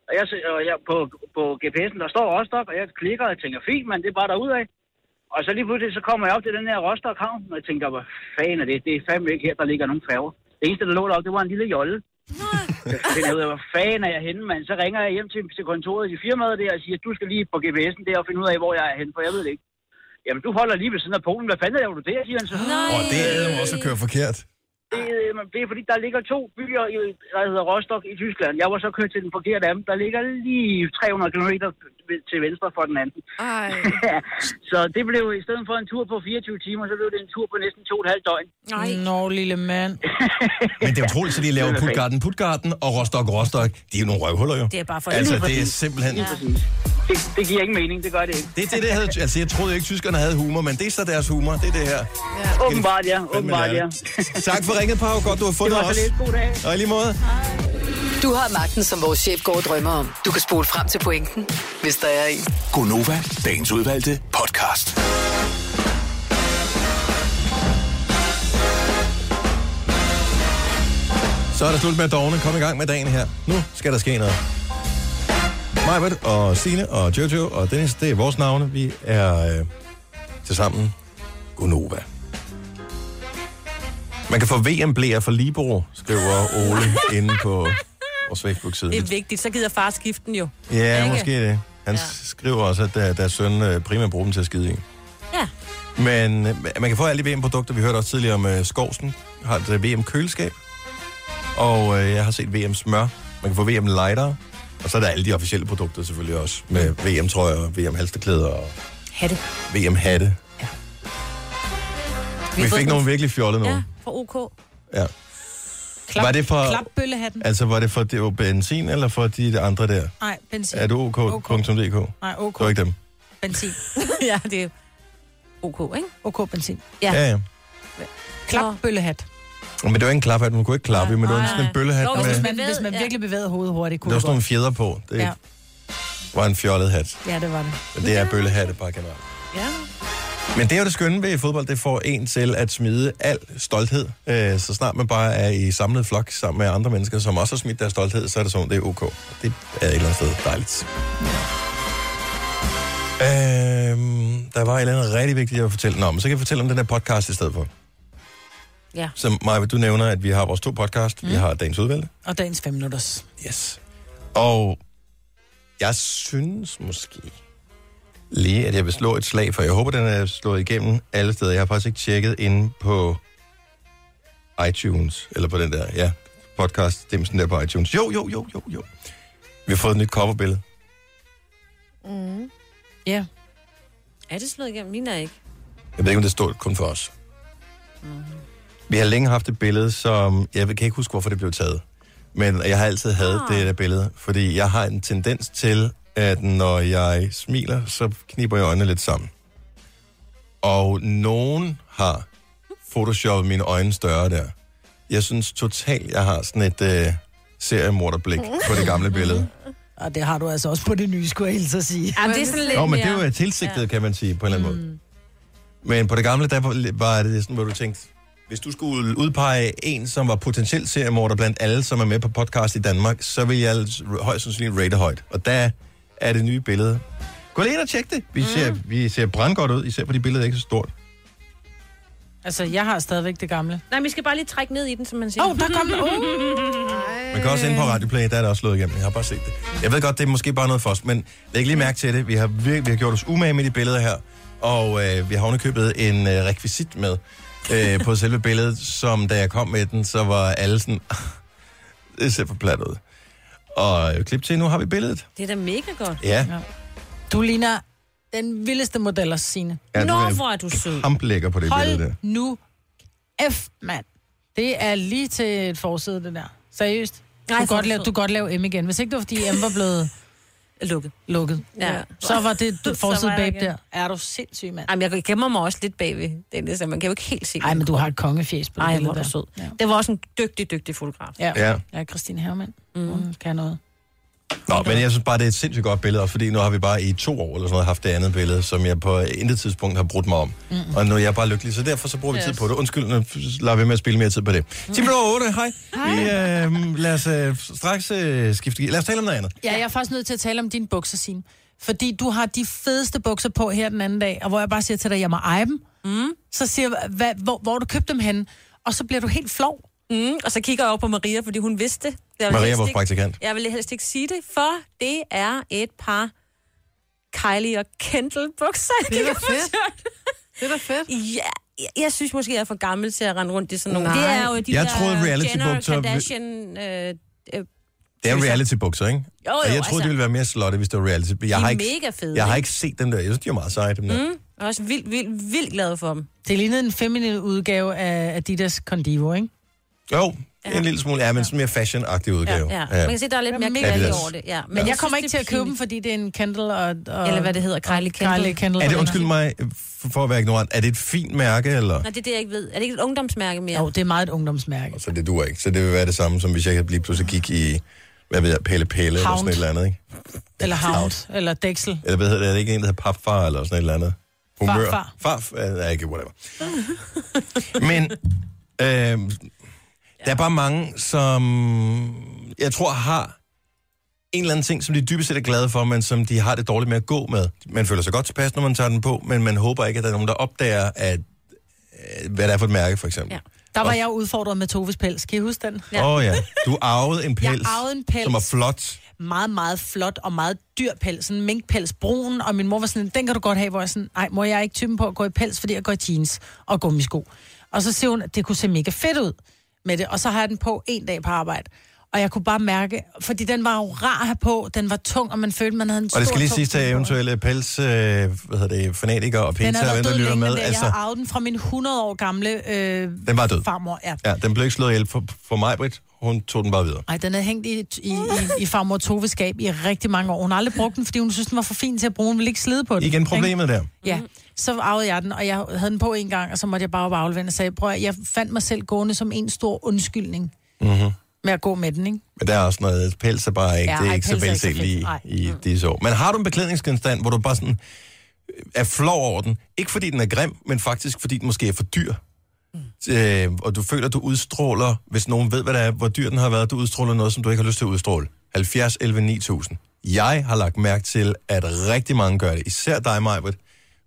[SPEAKER 13] Og jeg, sæt- og jeg på, på GPS'en, der står Rostock, og jeg klikker og tænker, fint, men det er bare derudad. Og så lige pludselig, så kommer jeg op til den her Rostock Havn, og jeg tænker, hvad fanden er det? Det er fandme ikke her, der ligger nogen færger. Det eneste, der lå deroppe, det var en lille jolle. Så finder jeg ud af, hvor fanden er jeg henne, mand. Så ringer jeg hjem til, til kontoret i firmaet der og siger, du skal lige på GPS'en der og finde ud af, hvor jeg er henne, for jeg ved det ikke. Jamen, du holder lige ved siden af Polen. Hvad fanden laver du der, siger han så.
[SPEAKER 2] Nej.
[SPEAKER 14] Og det er jo også at køre forkert.
[SPEAKER 13] Det, øh, det er fordi, der ligger to byer, i- der hedder Rostock i Tyskland. Jeg var så kørt til den forkerte af dem. Der ligger lige 300 km til venstre for den anden.
[SPEAKER 3] Ej.
[SPEAKER 13] *laughs* så det blev i stedet for en tur på 24 timer, så blev det en tur på næsten to og et halvt døgn.
[SPEAKER 2] Nej.
[SPEAKER 4] Nå, lille mand.
[SPEAKER 1] Men det er utroligt, så de laver Putgarden, Putgarden og Rostock, Rostock. De er jo nogle røvhuller jo.
[SPEAKER 2] Det er bare for
[SPEAKER 1] Altså,
[SPEAKER 13] Lige
[SPEAKER 1] det er
[SPEAKER 13] præcis.
[SPEAKER 1] simpelthen...
[SPEAKER 13] Lige præcis. Det, det giver ikke mening, det gør det ikke.
[SPEAKER 1] Det er det, der havde, altså, jeg troede ikke, tyskerne havde humor, men det er så deres humor, det er det her.
[SPEAKER 13] Åbenbart, ja. Åbenbart, ja.
[SPEAKER 1] Tak for ringet, Pau. Godt, du har fundet
[SPEAKER 13] Det var
[SPEAKER 1] os.
[SPEAKER 13] så lidt. God dag.
[SPEAKER 1] Og i lige måde.
[SPEAKER 5] Du har magten, som vores chef går og drømmer om. Du kan spole frem til pointen, hvis der er en.
[SPEAKER 6] Gonova, dagens udvalgte podcast.
[SPEAKER 1] Så er det slut med at dogne. Kom i gang med dagen her. Nu skal der ske noget. Majbert og Sine og Jojo og Dennis, det er vores navne. Vi er øh, tilsammen Gonova. Man kan få VM blære for Libero, skriver Ole inde på vores Facebook-side.
[SPEAKER 2] Det er vigtigt, så gider far skifte den jo.
[SPEAKER 1] Ja,
[SPEAKER 2] Ikke?
[SPEAKER 1] måske det. Han ja. skriver også, at der, deres søn øh, primært bruger dem til at skide i.
[SPEAKER 2] Ja.
[SPEAKER 1] Men øh, man kan få alle de VM-produkter. Vi hørte også tidligere om øh, Skovsen har et øh, VM-køleskab. Og øh, jeg har set VM-smør. Man kan få VM-lighter. Og så er der alle de officielle produkter selvfølgelig også. Med VM-trøjer, VM-halsterklæder og
[SPEAKER 2] Hatte.
[SPEAKER 1] VM-hatte.
[SPEAKER 2] Vi
[SPEAKER 1] Ja. Vi
[SPEAKER 2] har
[SPEAKER 1] fik
[SPEAKER 2] fået den-
[SPEAKER 1] nogle virkelig fjollede
[SPEAKER 2] Ja,
[SPEAKER 1] nogle.
[SPEAKER 2] fra OK.
[SPEAKER 1] Ja. ja.
[SPEAKER 4] Klap,
[SPEAKER 1] Var det for-
[SPEAKER 4] Klapbøllehatten.
[SPEAKER 1] Altså, var det for det var benzin, eller for de andre der?
[SPEAKER 4] Nej, benzin.
[SPEAKER 1] Er du ok.dk? OK.
[SPEAKER 4] Nej, OK.
[SPEAKER 1] Det var ikke dem.
[SPEAKER 4] Benzin.
[SPEAKER 2] *laughs* ja, det er OK, ikke?
[SPEAKER 4] OK benzin.
[SPEAKER 2] Ja.
[SPEAKER 1] ja. ja.
[SPEAKER 4] Klapbøllehat.
[SPEAKER 1] Men det var ikke en klaphat, man kunne ikke klappe i, men det var en
[SPEAKER 2] Ah.
[SPEAKER 1] sådan en bøllehat
[SPEAKER 4] Jo,
[SPEAKER 1] med...
[SPEAKER 4] hvis man, hvis man virkelig bevægede hovedet hurtigt, kunne
[SPEAKER 1] Der var
[SPEAKER 4] det
[SPEAKER 1] sådan nogle
[SPEAKER 4] godt.
[SPEAKER 1] fjeder på. Det
[SPEAKER 4] Ja.
[SPEAKER 1] ja. var en fjollet hat.
[SPEAKER 4] ja, det var det.
[SPEAKER 1] Men det er bøllehatte bare generelt.
[SPEAKER 4] Ja.
[SPEAKER 1] Men det er jo det skønne ved fodbold, det får en til at smide al stolthed. Øh, Så snart man bare er i samlet flok sammen med andre mennesker, som også har smidt deres stolthed, så er det sådan, det er ok. Det er et eller andet sted dejligt. Øhm, der var et eller andet rigtig vigtigt, jeg vil fortælle Nå, men Så kan jeg fortælle om den her podcast i stedet for.
[SPEAKER 2] Ja.
[SPEAKER 1] Som Maja, du nævner, at vi har vores to podcast. Mm. Vi har Dagens Udvalgte.
[SPEAKER 4] Og dagens fem minutters.
[SPEAKER 1] Yes. Og jeg synes måske lige, at jeg vil slå et slag, for jeg håber, den er slået igennem alle steder. Jeg har faktisk ikke tjekket inde på iTunes, eller på den der, ja, podcast, dimsen der på iTunes. Jo, jo, jo, jo, jo. Vi har fået et nyt coverbillede.
[SPEAKER 2] Mm.
[SPEAKER 4] Ja.
[SPEAKER 2] Er det slået igennem? Min er ikke.
[SPEAKER 1] Jeg ved ikke, om det står kun for os. Vi har længe haft et billede, som... Jeg kan ikke huske, hvorfor det blev taget. Men jeg har altid haft det der billede, fordi jeg har en tendens til, at når jeg smiler, så kniber jeg øjnene lidt sammen. Og nogen har photoshoppet mine øjne større der. Jeg synes totalt, jeg har sådan et øh, seriemorderblik på det gamle billede.
[SPEAKER 4] Og det har du altså også på det nye, skulle jeg hilse at sige.
[SPEAKER 2] Jamen, det er sådan lidt
[SPEAKER 1] Nå, men det
[SPEAKER 2] mere- Mm.
[SPEAKER 1] var tilsigtet, kan man sige, på en eller anden måde. Men på det gamle, der var- var det sådan, hvor du tænkte, hvis du skulle udpege en, som var potentielt seriemorder blandt alle, som er med på podcast i Danmark, så vil jeg højst sandsynligt rate højt. Og der er det nye billede. Gå lige ind og tjek det. Vi ser, mm. vi ser brandgodt ud, især på de billeder, der ikke er så stort.
[SPEAKER 4] Altså, jeg har stadigvæk det gamle.
[SPEAKER 2] Nej, men vi skal bare lige trække ned i den, som man siger.
[SPEAKER 4] Åh, oh, der kom den. Oh.
[SPEAKER 1] Man kan også ind på Radioplay, der er det også slået igennem. Jeg har bare set det. Jeg ved godt, det er måske bare noget for os, men læg lige mærke til det. Vi har, virkelig, vi har gjort os umage med de billeder her, og øh, vi har underkøbet en øh, rekvisit med øh, på selve billedet, som da jeg kom med den, så var alle sådan, *laughs* det ser for plat ud. Og øh, klip til, nu har vi billedet.
[SPEAKER 2] *laughs* Det er da mega godt.
[SPEAKER 1] Ja.
[SPEAKER 4] Du ligner den vildeste model også, Signe.
[SPEAKER 1] Ja, du
[SPEAKER 4] Nå,
[SPEAKER 1] en
[SPEAKER 4] hvor er du sød.
[SPEAKER 1] Kamplægger på det billede der.
[SPEAKER 4] Hold nu F, mand. Det er lige til et forside, det der. Seriøst. Du
[SPEAKER 2] Nej,
[SPEAKER 4] kan
[SPEAKER 2] for
[SPEAKER 4] godt lave,
[SPEAKER 2] sød.
[SPEAKER 4] du kan godt lave M igen. Hvis ikke det var, fordi M var blevet...
[SPEAKER 2] Lukket.
[SPEAKER 4] Lukket.
[SPEAKER 2] Ja.
[SPEAKER 4] *laughs* Så var det
[SPEAKER 2] *laughs* Så var
[SPEAKER 4] forside
[SPEAKER 2] jeg
[SPEAKER 4] babe
[SPEAKER 2] igen.
[SPEAKER 4] der. Er du sindssyg, mand?
[SPEAKER 2] Jamen, jeg gemmer mig også lidt bagved, Dennis, så man kan jo ikke helt se. Nej,
[SPEAKER 4] men du har et kongefjes på det
[SPEAKER 2] Ej,
[SPEAKER 4] billede
[SPEAKER 2] hvor er du
[SPEAKER 4] der.
[SPEAKER 2] sød. Ja. Det var også en dygtig, dygtig fotograf.
[SPEAKER 4] Ja.
[SPEAKER 1] Ja.
[SPEAKER 4] Ja, Christine Hermann. Mm. Hun kan noget.
[SPEAKER 1] Nå, men jeg synes bare, det er et sindssygt godt billede, også fordi nu har vi bare i to år eller sådan noget haft det andet billede, som jeg på intet tidspunkt har brudt mig om. Mm. Og nu er jeg bare lykkelig, så derfor så bruger vi
[SPEAKER 15] Yes.
[SPEAKER 1] tid på det. Undskyld, nu lader vi med at spille mere tid på det.
[SPEAKER 2] Mm.
[SPEAKER 1] 10 minutter 8, hej. Vi, øh, lad os øh, straks øh, skifte gear. Lad os tale om noget andet.
[SPEAKER 4] Ja, jeg er faktisk nødt til at tale om dine bukser, Signe. Fordi du har de fedeste bukser på her den anden dag, og hvor jeg bare siger til dig, at jeg må eje dem. Mm. Så siger jeg, hvad, hvor, hvor har du købt dem henne? Og så bliver du helt flov.
[SPEAKER 2] Mm, og så kigger jeg over på Maria, fordi hun vidste det. Jeg vil
[SPEAKER 1] Maria,
[SPEAKER 2] helst
[SPEAKER 1] vores
[SPEAKER 2] ikke-
[SPEAKER 1] praktikant.
[SPEAKER 2] Jeg vil helst ikke sige det, for det er et par Kylie og Kendall bukser.
[SPEAKER 3] Det er da fedt. Det er da fedt.
[SPEAKER 2] Ja, jeg, jeg synes måske, jeg er for gammel til at rende rundt i sådan nogle.
[SPEAKER 1] Nej.
[SPEAKER 2] Det er jo de
[SPEAKER 1] Jeg
[SPEAKER 2] der
[SPEAKER 1] troede,
[SPEAKER 2] Jenner og
[SPEAKER 1] reality-bukser-
[SPEAKER 2] Kardashian... Øh, øh,
[SPEAKER 1] Det er reality-bukser, ikke?
[SPEAKER 2] Jo, jo,
[SPEAKER 1] og jeg troede,
[SPEAKER 2] altså.
[SPEAKER 1] det ville være mere slotte, hvis det var reality. Jeg
[SPEAKER 2] De er
[SPEAKER 1] har ikke,
[SPEAKER 2] mega fede,
[SPEAKER 1] Jeg har
[SPEAKER 2] ikke?
[SPEAKER 1] ikke set dem der. Jeg synes, de er meget seje, dem der.
[SPEAKER 2] mm, jeg er også vildt, vildt, vildt glad for dem.
[SPEAKER 4] Det lignede en feminin udgave af Adidas Condivo, ikke?
[SPEAKER 1] Jo, en lille smule. Ja, men sådan mere fashion-agtig udgave.
[SPEAKER 4] Ja, ja.
[SPEAKER 2] Man kan se, der er lidt mere
[SPEAKER 4] Mega
[SPEAKER 2] kvalitet
[SPEAKER 1] Adidas.
[SPEAKER 2] over det. Ja,
[SPEAKER 4] Men jeg kommer ikke til at købe dem, fordi det er en Kendall og... og
[SPEAKER 2] Eller hvad det hedder, Kylie Kendall.
[SPEAKER 4] Kylie Kendall.
[SPEAKER 1] Er det, undskyld mig for- for at være ignorant, er det et fint mærke, eller?
[SPEAKER 2] Nå, det er det, jeg ikke ved. Er det ikke et ungdomsmærke mere?
[SPEAKER 4] Jo, det er meget et ungdomsmærke.
[SPEAKER 1] Så det duer ikke. Så det vil være det samme, som hvis jeg lige pludselig gik i, hvad ved jeg, Pelle Pelle eller sådan
[SPEAKER 4] Hound.
[SPEAKER 1] et eller andet, ikke?
[SPEAKER 4] Eller Hound, eller Dexel.
[SPEAKER 1] Eller hvad hedder det? Er det ikke en, der hedder papfar eller sådan et eller andet? Humør.
[SPEAKER 4] Farfar.
[SPEAKER 1] Far, øh, ikke, whatever. Men øh, der er bare mange, som jeg tror har en eller anden ting, som de dybest set er glade for, men som de har det dårligt med at gå med. Man føler sig godt tilpas, når man tager den på, men man håber ikke, at der er nogen, der opdager, at, øh, hvad det er for et mærke, for eksempel.
[SPEAKER 4] Der var
[SPEAKER 1] Og-
[SPEAKER 4] jeg udfordret med Toves pels. Kan I huske den?
[SPEAKER 1] Åh oh, ja, du arvede en
[SPEAKER 4] Jeg
[SPEAKER 1] pels,
[SPEAKER 4] arvede en pels.
[SPEAKER 1] som var flot.
[SPEAKER 4] meget, meget flot og meget dyr pels. Sådan en minkpels, brun, og min mor var sådan, den kan du godt have, hvor jeg sådan, nej, må jeg ikke typen på at gå i pels, fordi jeg går i jeans og gummisko. Og så siger hun, at det kunne se mega fedt ud med det, og så har jeg den på en dag på arbejde. Og jeg kunne bare mærke, fordi den var jo rar at have på, den var tung, og man følte, man havde en
[SPEAKER 1] Og det
[SPEAKER 4] stor,
[SPEAKER 1] skal lige
[SPEAKER 4] tung
[SPEAKER 1] siges til
[SPEAKER 4] type på.
[SPEAKER 1] eventuelle pels, øh, hvad hedder det, fanatikere og
[SPEAKER 4] Den
[SPEAKER 1] pizza,
[SPEAKER 4] er der
[SPEAKER 1] hvem
[SPEAKER 4] død
[SPEAKER 1] der lytter
[SPEAKER 4] længe,
[SPEAKER 1] med. Altså-
[SPEAKER 4] den der. Jeg har arvet den fra min 100 år gamle øh,
[SPEAKER 1] Den var død.
[SPEAKER 4] farmor. Ja.
[SPEAKER 1] ja, den blev ikke slået ihjel for, for mig, Britt. Hun tog den bare videre.
[SPEAKER 4] Ej, den havde hængt i, i, i, i farmor Toves skab i rigtig mange år. Hun har aldrig brugt den, fordi hun synes, den var for fin til at bruge. Hun ville ikke slide på den.
[SPEAKER 1] Igen
[SPEAKER 4] ikke?
[SPEAKER 1] problemet der.
[SPEAKER 4] Ja, så arvede jeg den, og jeg havde den på en gang, og så måtte jeg bare op og aflevende og sagde, prøv at, jeg fandt mig selv gående som en stor undskyldning
[SPEAKER 1] Mm-hmm.
[SPEAKER 4] med at gå med den, ikke?
[SPEAKER 1] Men der er også noget, pels er bare ikke,
[SPEAKER 4] Ja,
[SPEAKER 1] ja, det er
[SPEAKER 4] ej,
[SPEAKER 1] ikke så
[SPEAKER 4] pels er ikke så
[SPEAKER 1] velset
[SPEAKER 4] fedt.
[SPEAKER 1] lige
[SPEAKER 4] Nej.
[SPEAKER 1] i mm. disse år. Men har du en beklædningsgenstand, hvor du bare sådan øh, er flov over den? Ikke fordi den er grim, men faktisk fordi den måske er for dyr. Mm. Øh, og du føler, du udstråler, hvis nogen ved, hvad det er, hvor dyr den har været, du udstråler noget, som du ikke har lyst til at udstråle. 70, 11, 9000. Jeg har lagt mærke til, at rigtig mange gør det, især dig, Majbert.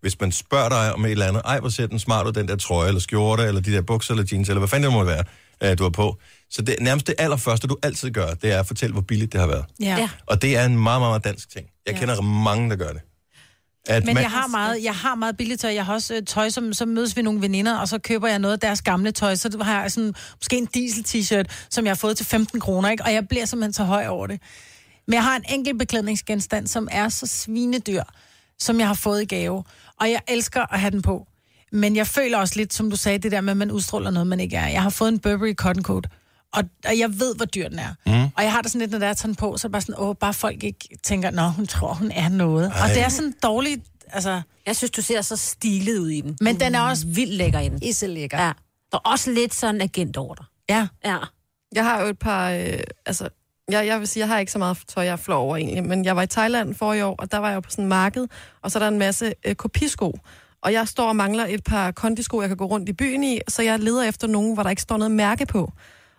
[SPEAKER 1] Hvis man spørger dig om et eller andet, ej, hvor ser den smart ud, den der trøje, eller skjorte, eller de der bukser, eller jeans, eller hvad fanden det må være, øh, du har på. Så det, nærmest det allerførste, du altid gør, det er at fortælle, hvor billigt det har været.
[SPEAKER 4] Ja. ja.
[SPEAKER 1] Og det er en meget, meget dansk ting. Jeg kender mange, der gør det. At
[SPEAKER 4] Men jeg har meget, jeg har meget billigt tøj. Jeg har også øh, tøj, som så mødes vi nogle veninder, og så køber jeg noget af deres gamle tøj. Så har jeg sådan, måske en diesel-t-shirt, som jeg har fået til 15 kroner, ikke? Og jeg bliver simpelthen så høj over det. Men jeg har en enkelt beklædningsgenstand, som er så svinedyr, som jeg har fået i gave. Og jeg elsker at have den på. Men jeg føler også lidt, som du sagde, det der med, at man udstråler noget, man ikke er. Jeg har fået en Burberry Cotton Coat, og, og jeg ved, hvor dyr den er.
[SPEAKER 1] Mm-hmm.
[SPEAKER 4] Mm. Og jeg har det sådan lidt, når jeg tager den på, så er det bare sådan, åh, bare folk ikke tænker, nå, hun tror, hun er noget. Ej. Og det er sådan dårligt, altså...
[SPEAKER 2] Jeg synes, du ser så stilet ud i den.
[SPEAKER 4] Men den er også
[SPEAKER 2] vildt lækker i den.
[SPEAKER 4] Isse lækker.
[SPEAKER 2] Ja. Der er også lidt sådan en agent over dig.
[SPEAKER 4] Ja.
[SPEAKER 2] Ja.
[SPEAKER 3] Jeg har jo et par... Øh, altså, jeg, jeg vil sige, jeg har ikke så meget tøj, jeg er flov over egentlig, men jeg var i Thailand for i år, og der var jeg jo på sådan en marked, og så er der en masse øh, kopisko. Og jeg står og mangler et par kondisko, jeg kan gå rundt i byen i, så jeg leder efter nogen, hvor der ikke står noget mærke på.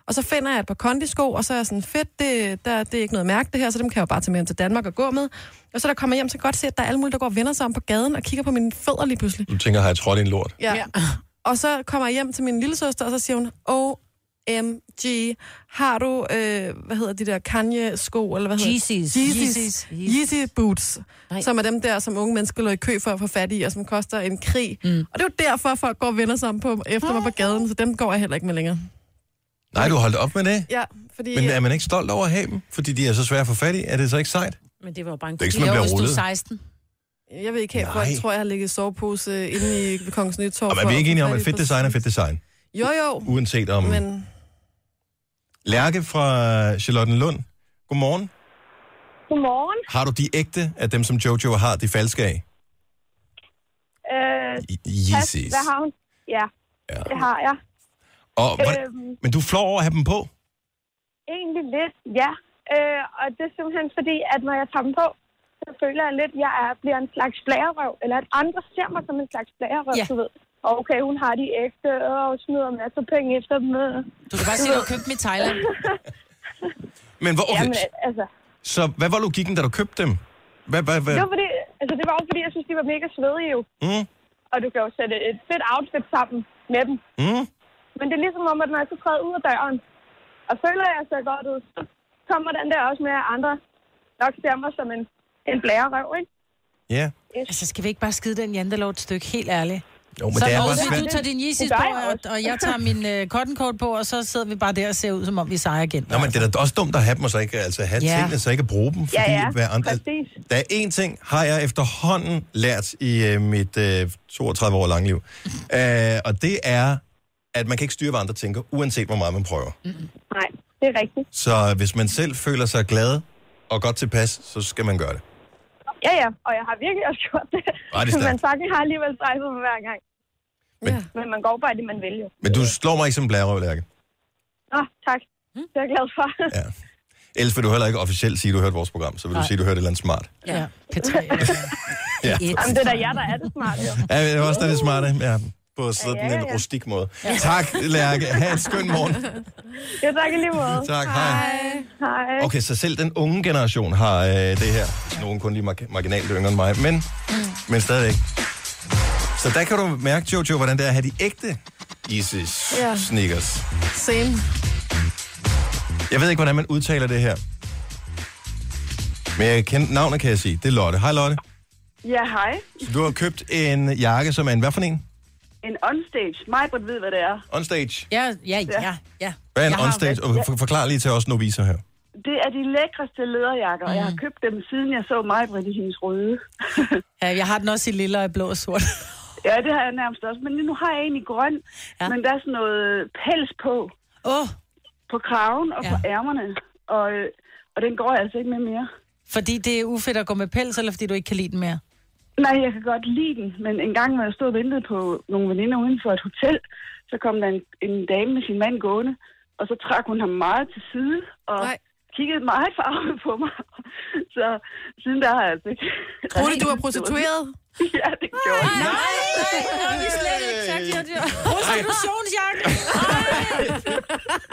[SPEAKER 3] Og så finder jeg et par kondisko, og så er jeg sådan, fedt, det, der, det er ikke noget mærke det her, så dem kan jeg jo bare tage med hjem til Danmark og gå med. Og så der kommer jeg hjem, så kan jeg godt se, at der er alle mulige, der går og vender sig om på gaden og kigger på mine fødder lige pludselig.
[SPEAKER 1] Du tænker, har jeg trådt i en lort?
[SPEAKER 3] Ja. ja. *laughs* Og så kommer jeg hjem til min lille søster, og så siger hun, OMG, har du, øh, hvad hedder de der Kanye-sko, eller hvad hedder
[SPEAKER 2] Yeezys.
[SPEAKER 3] Yeezys. Yeezy boots, Nej. som er dem der, som unge mennesker lå i kø for at få fat i, og som koster en krig. Mm. Og det er jo derfor, folk går og vender sig om på, efter mig på gaden, så dem går jeg heller ikke med længere.
[SPEAKER 1] Nej, du har holdt op med det.
[SPEAKER 3] Ja, fordi...
[SPEAKER 1] Men er man ikke stolt over at have dem? Fordi de er så svære at få fat i. Er det så ikke sejt?
[SPEAKER 2] Men det var jo bare en
[SPEAKER 1] Det er ikke sådan, man bliver rullet.
[SPEAKER 4] 16.
[SPEAKER 3] Jeg vil ikke have,
[SPEAKER 1] Nej.
[SPEAKER 3] folk tror, jeg har ligget i sovepose inde i Kongens Nytorv.
[SPEAKER 1] Og
[SPEAKER 3] for
[SPEAKER 1] er vi
[SPEAKER 3] at
[SPEAKER 1] ikke
[SPEAKER 3] få
[SPEAKER 1] enige om,
[SPEAKER 3] fat
[SPEAKER 1] at
[SPEAKER 3] i
[SPEAKER 1] fedt
[SPEAKER 3] på-
[SPEAKER 1] design er fedt design?
[SPEAKER 3] Jo, jo.
[SPEAKER 1] Uanset om... Men...
[SPEAKER 3] Oh. Men
[SPEAKER 1] Lærke fra Charlottenlund. Godmorgen.
[SPEAKER 16] Godmorgen.
[SPEAKER 1] Har du de ægte af dem, som Jojo har, de falske af?
[SPEAKER 16] Øh,
[SPEAKER 1] Yeezys.
[SPEAKER 16] pas, Hvad har hun? Ja, ja, det har jeg.
[SPEAKER 1] Og, hvordan...
[SPEAKER 16] Øhm,
[SPEAKER 1] Men du flår over at have dem på?
[SPEAKER 16] egentlig lidt, ja. Øh, og det er simpelthen fordi, at når jeg tager dem på, så føler jeg lidt, at jeg er, bliver en slags blærerøv, eller at andre ser mig som en slags blærerøv,
[SPEAKER 4] Ja.
[SPEAKER 16] du ved. Og Okay, hun har de ægte, og smider masser af penge efter dem. øh.
[SPEAKER 4] Du kan bare sige, at du har købt dem i Thailand.
[SPEAKER 1] Men hvor, okay,
[SPEAKER 16] Jamen, altså,
[SPEAKER 1] så hvad var logikken, da du købte dem? Hvad, hvad, hvad?
[SPEAKER 16] det, var fordi, altså, det var også fordi, jeg synes, de var mega svedige jo.
[SPEAKER 1] Mm,
[SPEAKER 16] Og du kan jo sætte et fedt outfit sammen med dem.
[SPEAKER 1] mm.
[SPEAKER 16] Men det er ligesom om, at når jeg så træder ud af døren, og føler jeg så godt ud, så kommer den der også med, at andre nok ser mig som en, en blærerøv, ikke?
[SPEAKER 1] Ja.
[SPEAKER 4] Altså, skal vi ikke bare skide den jantelov et stykke, helt ærligt?
[SPEAKER 1] Jo, men
[SPEAKER 4] så
[SPEAKER 1] det er
[SPEAKER 4] Mose,
[SPEAKER 1] bare svært.
[SPEAKER 4] du tager din Yeezys
[SPEAKER 16] Det
[SPEAKER 4] på,
[SPEAKER 16] gør jeg også.
[SPEAKER 4] og, og jeg tager min øh, cotton coat på, og så sidder vi bare der og ser ud, som om vi sejrer igen.
[SPEAKER 1] Nå, men det er da også dumt at have dem, og så ikke altså, have
[SPEAKER 4] Ja.
[SPEAKER 1] ja. tingene, så ikke bruge dem. Fordi
[SPEAKER 4] Ja, ja,
[SPEAKER 1] Hvad andre...
[SPEAKER 4] præcis.
[SPEAKER 1] Der er én ting, har jeg efterhånden lært i øh, mit øh, 32 år lange liv. Øh, og det er, at man kan ikke styre, hvad andre tænker, uanset hvor meget man prøver.
[SPEAKER 16] Nej, det er rigtigt.
[SPEAKER 1] Så hvis man selv føler sig glad og godt tilpas, så skal man gøre det.
[SPEAKER 16] Ja, ja, og jeg har virkelig også gjort det. *laughs*
[SPEAKER 1] Ej, det er stærkt.
[SPEAKER 16] man fucking har alligevel strejfet mig hver gang.
[SPEAKER 1] Men-
[SPEAKER 16] Men man går bare i det, man vil jo.
[SPEAKER 1] Men du slår mig ikke som en blærerøv, Lærke.
[SPEAKER 16] Nå, tak. Det er jeg glad for.
[SPEAKER 1] Ja. Ellers vil du heller ikke officielt sige, at du hørte vores program. Så vil du
[SPEAKER 16] Nej.
[SPEAKER 1] sige, at du hørte et eller andet smart.
[SPEAKER 16] *laughs* ja.
[SPEAKER 4] P3.
[SPEAKER 1] Ja.
[SPEAKER 16] Jamen, det er da jer, der er det smarte, jo.
[SPEAKER 1] Ja, det var også da det smarte. Ja, på sådan
[SPEAKER 16] Ja, ja, ja.
[SPEAKER 1] en rustik måde. Tak, Lærke. Ha' en skøn morgen.
[SPEAKER 16] Ja, tak i lige måde.
[SPEAKER 1] Tak, hej.
[SPEAKER 16] Hej.
[SPEAKER 1] Okay, så selv den unge generation har øh, det her. Nogen kun lige mar- marginalt yngre end mig, men, men stadigvæk. Så der kan du mærke, Jojo, hvordan det er at have de ægte Yeezys
[SPEAKER 3] Ja.
[SPEAKER 1] ja. sneakers.
[SPEAKER 3] Same.
[SPEAKER 1] Jeg ved ikke, hvordan man udtaler det her. Men jeg kendte navnet, kan jeg sige. Det er Lotte. Hej, Lotte.
[SPEAKER 15] Ja, hej.
[SPEAKER 1] Så Du har købt en jakke, som er en... Hvad for en?
[SPEAKER 15] En onstage. Majbrit ved, hvad det er.
[SPEAKER 1] Onstage.
[SPEAKER 4] Ja, ja, ja. ja.
[SPEAKER 1] Hvad er en
[SPEAKER 15] Jeg har
[SPEAKER 1] onstage?
[SPEAKER 15] været-
[SPEAKER 1] Og for- forklar lige til os noviser her.
[SPEAKER 15] Det er de lækreste lederjakker, og jeg har købt dem, siden jeg så Majbrit i hendes røde.
[SPEAKER 4] Ja, jeg har den også i lille og i blå og sort. *laughs*
[SPEAKER 15] Ja, det har jeg nærmest også. Men nu har jeg en i grøn, ja. men der er sådan noget pels på.
[SPEAKER 4] Åh. Oh.
[SPEAKER 15] På kraven og ja. på ærmerne. Og, øh, og den går jeg altså ikke med mere.
[SPEAKER 4] Fordi det er ufedt at gå med pels, eller fordi du ikke kan lide den mere?
[SPEAKER 15] Nej, jeg kan godt lide den, men en gang, hvor jeg stod og ventede på nogle veninder uden for et hotel, så kom der en, en dame med sin mand gående, og så trak hun ham meget til side, og Nej. kiggede meget *laughs* farvet på mig. Så siden der har jeg altså ikke...
[SPEAKER 3] Tror du, du var prostitueret?
[SPEAKER 15] *laughs* Ja, det gjorde jeg.
[SPEAKER 4] Nej, nej, vi slet ikke sagt, det her. Prostitutionsjakke.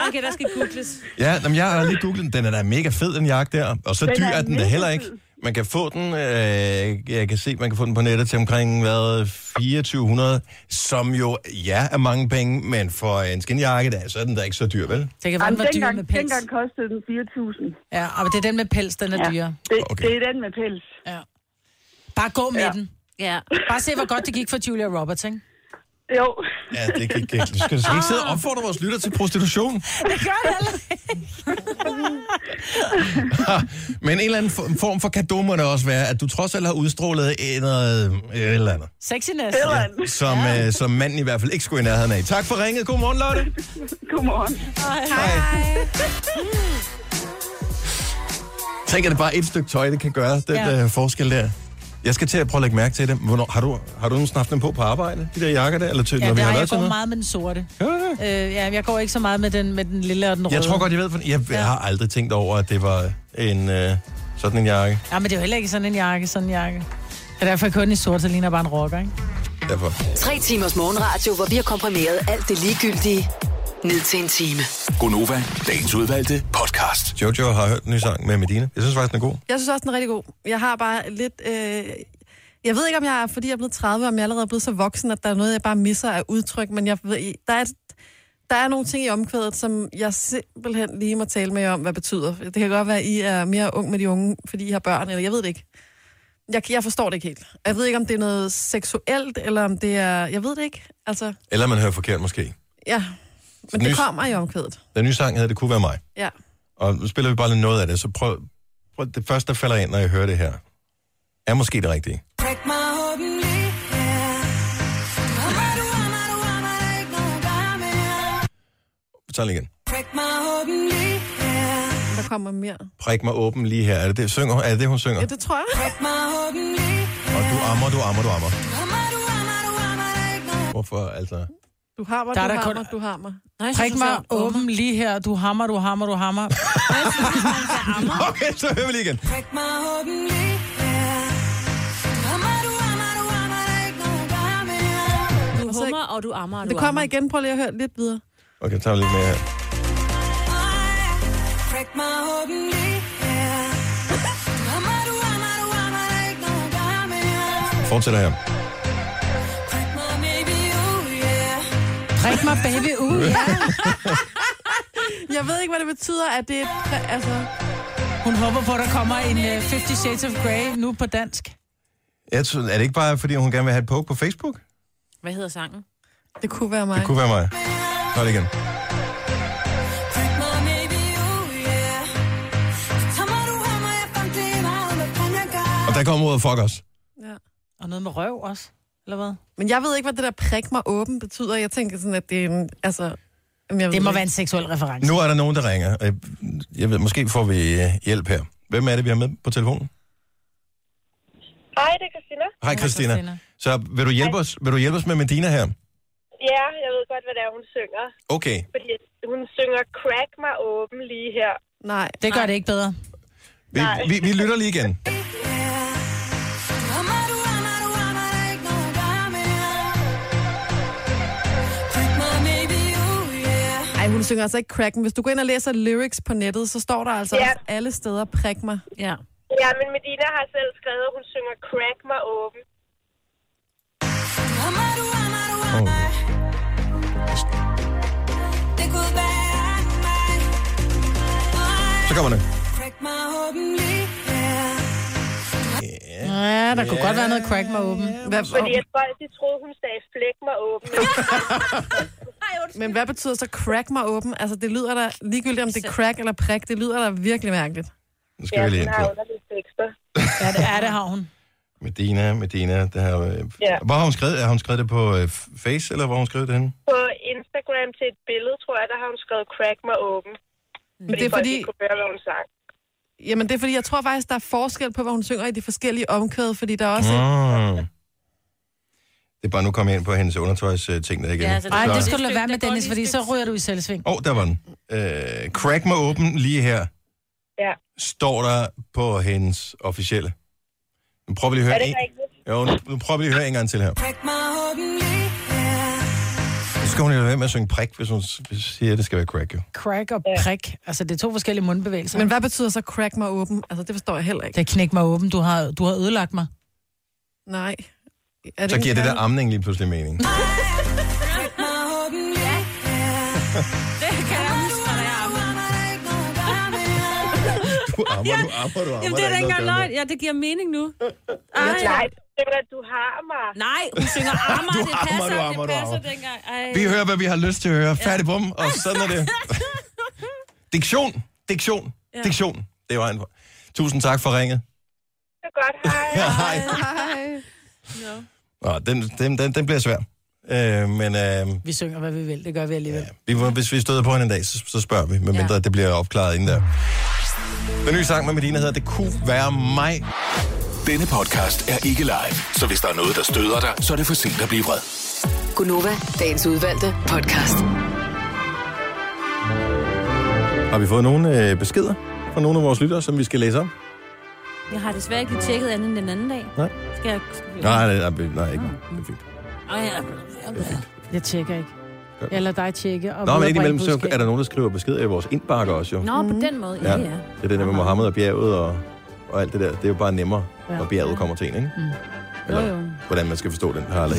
[SPEAKER 2] Okay, der skal googles.
[SPEAKER 1] Ja, jamen, jeg har lige googlet den. Den er da mega fed, den jakke der. Og så
[SPEAKER 2] Den
[SPEAKER 1] dyr
[SPEAKER 2] er
[SPEAKER 1] er den da
[SPEAKER 2] mega
[SPEAKER 1] heller ikke.
[SPEAKER 2] fed.
[SPEAKER 1] Man kan få den, øh, jeg kan se, man kan få den på nettet til omkring, hvad, 2400, som jo, ja, er mange penge, men for en skinjakke, der, så er den da ikke så dyr, vel?
[SPEAKER 4] Det kan være, den var dyr
[SPEAKER 15] dengang,
[SPEAKER 4] med pels.
[SPEAKER 15] dengang kostede den 4.000.
[SPEAKER 4] Ja, og det er den med pels, den er dyrere.
[SPEAKER 15] Det, okay. det er den med pels.
[SPEAKER 4] Ja. Bare gå med
[SPEAKER 15] Ja.
[SPEAKER 4] den. Ja. Bare se, hvor godt det gik for Julia Roberts, ikke?
[SPEAKER 15] Jo.
[SPEAKER 1] Ja, det kan ikke. Du skal, du skal ikke sidde og opfordre vores lytter til prostitution.
[SPEAKER 4] Ah. *laughs* Det gør jeg heller
[SPEAKER 1] *laughs* Men en eller anden for- form for kado må det også være, at du trods alt har udstrålet en- noget et eller andet.
[SPEAKER 4] Sexiness.
[SPEAKER 1] Som, ja. øh, som manden i hvert fald ikke skulle i nærheden af. Tak for ringet. Godmorgen, *laughs* Lotte.
[SPEAKER 15] Godmorgen.
[SPEAKER 1] Hej. Tænk, at det bare er et stykke tøj, det kan gøre den
[SPEAKER 4] Ja.
[SPEAKER 1] ja. øh, forskel der. Jeg skal til at prøve at lægge mærke til det. Hvornår, har, du, har du nogensinde haft dem på på arbejde, de der jakker der? Eller til,
[SPEAKER 4] Ja,
[SPEAKER 1] når vi
[SPEAKER 4] der,
[SPEAKER 1] har
[SPEAKER 4] jeg
[SPEAKER 1] været til
[SPEAKER 4] går
[SPEAKER 1] noget?
[SPEAKER 4] meget med den sorte. Øh, ja, jeg går ikke så meget med den, med den lille og den røde.
[SPEAKER 1] Jeg tror godt, jeg ved, for jeg, jeg har aldrig tænkt over, at det var en øh, sådan en jakke.
[SPEAKER 4] Ja, men det er jo heller ikke sådan en jakke, sådan en jakke. Det er derfor, jeg kun i sort, så ligner jeg bare en rocker, ikke?
[SPEAKER 1] Derfor.
[SPEAKER 5] Tre timers morgenradio, hvor vi har komprimeret alt det ligegyldige ned til en time.
[SPEAKER 6] Gonova, dagens udvalgte podcast.
[SPEAKER 1] Jojo har hørt en ny sang med Medina. Jeg synes faktisk, den er god.
[SPEAKER 3] Jeg synes også, den er rigtig god. Jeg har bare lidt... Øh... Jeg ved ikke, om jeg er, fordi jeg er blevet 30, om jeg allerede er blevet så voksen, at der er noget, jeg bare misser af udtryk, men jeg ved, der er, der er nogle ting i omkvædet, som jeg simpelthen lige må tale med jer om, hvad betyder. Det kan godt være, at I er mere ung med de unge, fordi I har børn, eller jeg ved det ikke. Jeg, jeg forstår det ikke helt. Jeg ved ikke, om det er noget seksuelt, eller om det er... Jeg ved det ikke. Altså,
[SPEAKER 1] Eller man hører forkert måske.
[SPEAKER 3] ja. Men
[SPEAKER 1] nys-
[SPEAKER 3] det kommer i omkvædet.
[SPEAKER 1] Den nye sang hedder Det kunne være mig.
[SPEAKER 3] Ja.
[SPEAKER 1] Og nu spiller vi bare lidt noget af det, så prøv, prøv det første, der falder ind, når jeg hører det her. Er måske det rigtige.
[SPEAKER 10] Prik mig åben lige her. Du har mig, du har mig, du har mig, der er ikke nogen, der er mere.
[SPEAKER 1] Så igen.
[SPEAKER 10] Prik mig åben lige her.
[SPEAKER 3] Der kommer mere.
[SPEAKER 1] Prik mig åben lige her. Er det det, synger, er det, det hun synger?
[SPEAKER 3] Ja, det tror jeg.
[SPEAKER 10] Prik mig åben lige
[SPEAKER 1] Og du ammer, du ammer, du ammer.
[SPEAKER 10] her. Mig, du har mig, du har mig, der er ikke nogen.
[SPEAKER 1] Hvorfor altså?
[SPEAKER 3] Du har mig,
[SPEAKER 4] Der er
[SPEAKER 3] du
[SPEAKER 4] der
[SPEAKER 3] har
[SPEAKER 4] kun-
[SPEAKER 3] mig, du har mig.
[SPEAKER 4] Prik mig åben lige her. Du hammer, du hammer, du hammer.
[SPEAKER 1] Okay, så hører vi lige igen.
[SPEAKER 10] Prik mig åbenlig, ja. Du ammer, du ammer, du ammer, der er ikke nogen, der er mere.
[SPEAKER 2] Du hummer, og du ammer, og du
[SPEAKER 3] Det kommer
[SPEAKER 2] ammer.
[SPEAKER 3] igen. Prøv lige at høre lidt videre.
[SPEAKER 1] Okay, jeg tager lidt mere her.
[SPEAKER 10] Prik mig åbenlig, ja. Du ammer, du ammer, du ammer, der er ikke nogen, der er mere.
[SPEAKER 1] Fortsætter her.
[SPEAKER 10] Prik mig, baby, oh yeah.
[SPEAKER 4] Prik mig baby ud. *laughs* Ja.
[SPEAKER 3] Jeg ved ikke, hvad det betyder, at det er... et præ- Altså,
[SPEAKER 4] Hun håber på, at der kommer en uh, Fifty Shades of Grey nu på dansk.
[SPEAKER 1] Jeg tror, er det ikke bare, fordi hun gerne vil have et poke på Facebook?
[SPEAKER 2] Hvad hedder sangen?
[SPEAKER 3] det kunne være mig.
[SPEAKER 1] Det kunne være mig. Nå, det igen.
[SPEAKER 10] Prik mig, baby, oh yeah. Så må du have mig, jeg fandt det meget, hvad fanden jeg gør.
[SPEAKER 1] Og der kommer ordet fuck os.
[SPEAKER 4] Og noget med røv også, eller hvad?
[SPEAKER 3] Men jeg ved ikke, hvad det der prik mig åben betyder. Jeg tænker sådan, at det er en... Altså, jamen, jeg ved
[SPEAKER 4] Det må
[SPEAKER 3] ikke.
[SPEAKER 4] være en seksuel reference.
[SPEAKER 1] Nu er der nogen, der ringer. Øh, Jeg ved, måske får vi øh, hjælp her. Hvem er det, vi har med på telefonen?
[SPEAKER 16] Hej, det er Christina.
[SPEAKER 1] Hej, Christina. Så vil du hjælpe os, vil du hjælpe os med Medina her?
[SPEAKER 16] Ja, jeg ved godt, hvad det er, hun synger.
[SPEAKER 1] Okay.
[SPEAKER 16] Fordi hun synger crack mig åben lige her.
[SPEAKER 3] Nej.
[SPEAKER 4] Det gør det ikke bedre.
[SPEAKER 1] Vi,
[SPEAKER 16] Nej.
[SPEAKER 1] vi, vi lytter lige igen.
[SPEAKER 10] Du ammer, du ammer, du ammer, der er ikke nogen, der er mere. Prik mig, baby, oh yeah.
[SPEAKER 3] Ej, hun synger altså ikke cracken. Hvis du går ind og læser lyrics på nettet, så står der altså
[SPEAKER 16] Ja.
[SPEAKER 3] ja. også alle steder prik mig.
[SPEAKER 2] Ja.
[SPEAKER 16] Ja, men Medina har selv skrevet, at hun synger crack mig åben.
[SPEAKER 10] Det kunne være mig.
[SPEAKER 1] Så kommer det.
[SPEAKER 10] Prik mig åbenlig, ja.
[SPEAKER 4] Ja, der kunne godt være noget crack mig åben.
[SPEAKER 3] Hvad,
[SPEAKER 16] Fordi jeg tror, at de troede, hun sagde flæk mig åben.
[SPEAKER 1] *laughs*
[SPEAKER 3] men hvad betyder så crack mig åben? Altså, det lyder da ligegyldigt, om det er crack eller prik. Det lyder da virkelig mærkeligt.
[SPEAKER 1] Nu skal vi lige ind
[SPEAKER 16] hun har
[SPEAKER 1] på.
[SPEAKER 16] underlige tekster.
[SPEAKER 4] Ja, det, ja, det har hun.
[SPEAKER 1] Medina, Medina. Det her, øh,
[SPEAKER 16] Ja.
[SPEAKER 1] Hvor har hun skrevet? Har hun skrevet det på øh, Face, eller hvor har hun skrevet det henne?
[SPEAKER 16] På Instagram til et billede, tror jeg, der har hun skrevet crack mig åben. Fordi
[SPEAKER 3] det er
[SPEAKER 16] folk
[SPEAKER 3] fordi-
[SPEAKER 16] ikke kunne høre, hvad hun sang.
[SPEAKER 3] Jamen, det er fordi, jeg tror faktisk, der er forskel på, hvad hun synger i de forskellige omkvæd, fordi der er også...
[SPEAKER 1] Mm. Det er bare nu kommet ind på hendes undertøjsting der igen.
[SPEAKER 2] Ja, så det-
[SPEAKER 4] Nej, altså, det skal
[SPEAKER 2] Det
[SPEAKER 4] du lade
[SPEAKER 2] stykke,
[SPEAKER 4] være med,
[SPEAKER 2] der går
[SPEAKER 4] Dennis,
[SPEAKER 2] lige
[SPEAKER 4] fordi
[SPEAKER 2] et
[SPEAKER 4] så ryger du i selvsving.
[SPEAKER 1] Åh, oh, der var den. Øh, crack mig åben lige her.
[SPEAKER 16] Ja.
[SPEAKER 1] Står der på hendes officielle. Nu prøver vi lige at
[SPEAKER 16] Er
[SPEAKER 1] høre
[SPEAKER 16] det
[SPEAKER 1] en...
[SPEAKER 16] rigtigt?
[SPEAKER 1] Jo, nu, nu prøver vi lige at høre en gang til her.
[SPEAKER 10] Prik mig åbenlig, ja.
[SPEAKER 1] Så skal hun jo lade være med at synge prik, hvis hun s- siger, at det skal være crack, jo.
[SPEAKER 4] Crack og prik. Altså, det er to forskellige mundbevægelser.
[SPEAKER 3] Men hvad betyder så crack mig åben? Altså, det forstår jeg heller ikke.
[SPEAKER 4] Det er knæk mig åben. Du har, du har ødelagt mig.
[SPEAKER 3] Nej. Er
[SPEAKER 1] Så
[SPEAKER 3] en
[SPEAKER 1] giver det der
[SPEAKER 3] kærlighed?
[SPEAKER 1] amning lige pludselig mening. *laughs*
[SPEAKER 10] Prik mig åbenlig, ja.
[SPEAKER 2] Det kan jeg huske, hvad jeg ammer.
[SPEAKER 1] Du ammer, du ammer, du ammer.
[SPEAKER 2] Jamen,
[SPEAKER 1] der
[SPEAKER 2] det er
[SPEAKER 1] ikke
[SPEAKER 2] da ikke engang
[SPEAKER 1] noget at
[SPEAKER 2] løgn. Ja, det giver mening nu.
[SPEAKER 16] Jeg
[SPEAKER 2] Ej.
[SPEAKER 16] nej, det er, at du har mig.
[SPEAKER 2] Nej, hun synger ammer,
[SPEAKER 1] Du
[SPEAKER 2] det
[SPEAKER 1] ammer,
[SPEAKER 2] passer,
[SPEAKER 1] du ammer, du
[SPEAKER 2] det passer
[SPEAKER 1] ammer.
[SPEAKER 2] dengang. Ej.
[SPEAKER 1] gøre med. Vi hører, hvad vi har lyst til at høre. Færdig bum, og sådan er det. *laughs* Diktion, diktion,
[SPEAKER 2] Ja.
[SPEAKER 1] diktion. Det var en... Tusind tak for ringet.
[SPEAKER 16] Det er godt, hej.
[SPEAKER 1] Hej.
[SPEAKER 3] Hej.
[SPEAKER 1] Nå, den, den, den, den bliver svær. Øh, men øh,
[SPEAKER 4] *laughs* Vi synger, hvad vi vil. Det gør vi alligevel.
[SPEAKER 1] Vi, må- hvis vi støder på hende en dag, så, så spørger vi, medmindre ja. det bliver opklaret inden der. Den nye sang med Medina hedder Det kunne være mig.
[SPEAKER 6] Denne podcast er ikke live, så hvis der er noget, der støder dig, så er det for sent at blive vred.
[SPEAKER 5] Gunova, dagens udvalgte podcast.
[SPEAKER 1] Har vi fået nogle øh, beskeder fra nogle af vores lyttere, som vi skal læse op?
[SPEAKER 2] Jeg har desværre ikke lige tjekket andet end den anden dag.
[SPEAKER 1] Nej.
[SPEAKER 2] Skal jeg... Skal vi...
[SPEAKER 1] Nej, nej, nej, nej ikke. Det er fint.
[SPEAKER 2] Ej, jeg...
[SPEAKER 4] Jeg tjekker ikke. Eller dig tjekke. Og
[SPEAKER 1] Nå, men indimellem
[SPEAKER 4] viderebringe
[SPEAKER 1] så er der nogen, der skriver beskeder i vores indbakker også, jo.
[SPEAKER 2] Nå, på den måde. Ja,
[SPEAKER 1] Ja.
[SPEAKER 2] ja.
[SPEAKER 1] Det er det der med Mohammed og bjerget og, og alt det der. Det er jo bare nemmere,
[SPEAKER 2] Ja.
[SPEAKER 1] når bjerget kommer til en, ikke?
[SPEAKER 2] Mm.
[SPEAKER 10] 哎
[SPEAKER 1] Eller
[SPEAKER 2] jo.
[SPEAKER 1] hvordan man skal forstå den parallel.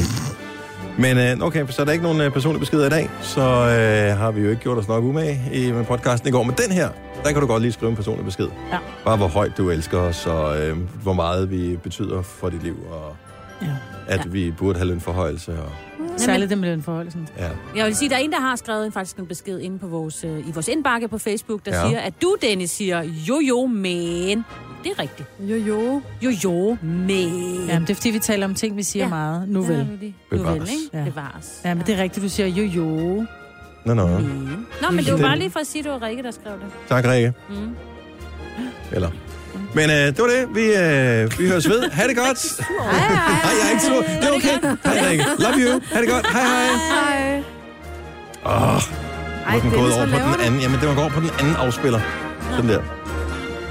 [SPEAKER 1] Men øh, okay, så er der ikke nogen øh, personlige beskeder i dag, så øh, har vi jo ikke gjort os nok umage i med podcasten i går. Men den her, der kan du godt lige skrive en personlig besked.
[SPEAKER 4] Ja.
[SPEAKER 1] Bare hvor højt du elsker os, og øh, hvor meget vi betyder for dit liv, og
[SPEAKER 4] Ja.
[SPEAKER 1] at ja. vi burde have lønforhøjelse. Og,
[SPEAKER 4] Særligt det med lønforholdelsen.
[SPEAKER 1] ja.
[SPEAKER 2] Jeg vil sige, der er en, der har skrevet en, faktisk en besked inde på vores, øh, i vores indbakke på Facebook, der
[SPEAKER 1] Ja.
[SPEAKER 2] ja. siger, at du, Dennis, siger, jo jo, men... Det er rigtigt.
[SPEAKER 3] Jo, jo.
[SPEAKER 2] Jo jo, men...
[SPEAKER 4] Jamen, det er fordi, vi taler om ting, vi siger ja.
[SPEAKER 2] Ja.
[SPEAKER 4] meget. Nu vel.
[SPEAKER 2] Nu vel,
[SPEAKER 1] Bevares.
[SPEAKER 2] ikke?
[SPEAKER 4] Ja.
[SPEAKER 2] Bevares.
[SPEAKER 4] Ja, men det er rigtigt, du siger jo jo.
[SPEAKER 1] Nå, nå.
[SPEAKER 2] Mm. Nå, men det var
[SPEAKER 1] Den-
[SPEAKER 2] bare lige for at sige, at det var Rikke, der skrev det.
[SPEAKER 1] Tak, Rikke.
[SPEAKER 2] Mm.
[SPEAKER 1] Eller. Men øh, det var det. Vi, øh, vi høres ved. Ha' det godt.
[SPEAKER 2] Hej, hej.
[SPEAKER 1] Hej, jeg er ikke sur. Det er okay. Hej, Rikke. Love you. Ha' det godt. Hej, hej.
[SPEAKER 3] Hej.
[SPEAKER 1] Åh, oh,
[SPEAKER 3] Ej,
[SPEAKER 1] den
[SPEAKER 3] Dennis,
[SPEAKER 1] gået over
[SPEAKER 3] hvad
[SPEAKER 1] på
[SPEAKER 3] laver
[SPEAKER 1] den
[SPEAKER 3] du?
[SPEAKER 1] anden. Jamen, den var gået over på den anden afspiller. Sådan der.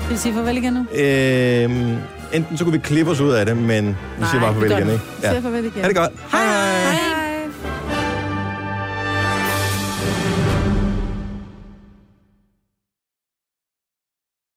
[SPEAKER 4] Vil du sige farvel igen nu?
[SPEAKER 1] Øhm, enten så kunne vi klippe os ud af det, men vi siger bare farvel igen, ikke?
[SPEAKER 4] Siger farvel igen.
[SPEAKER 1] Ha' det godt.
[SPEAKER 4] Hej.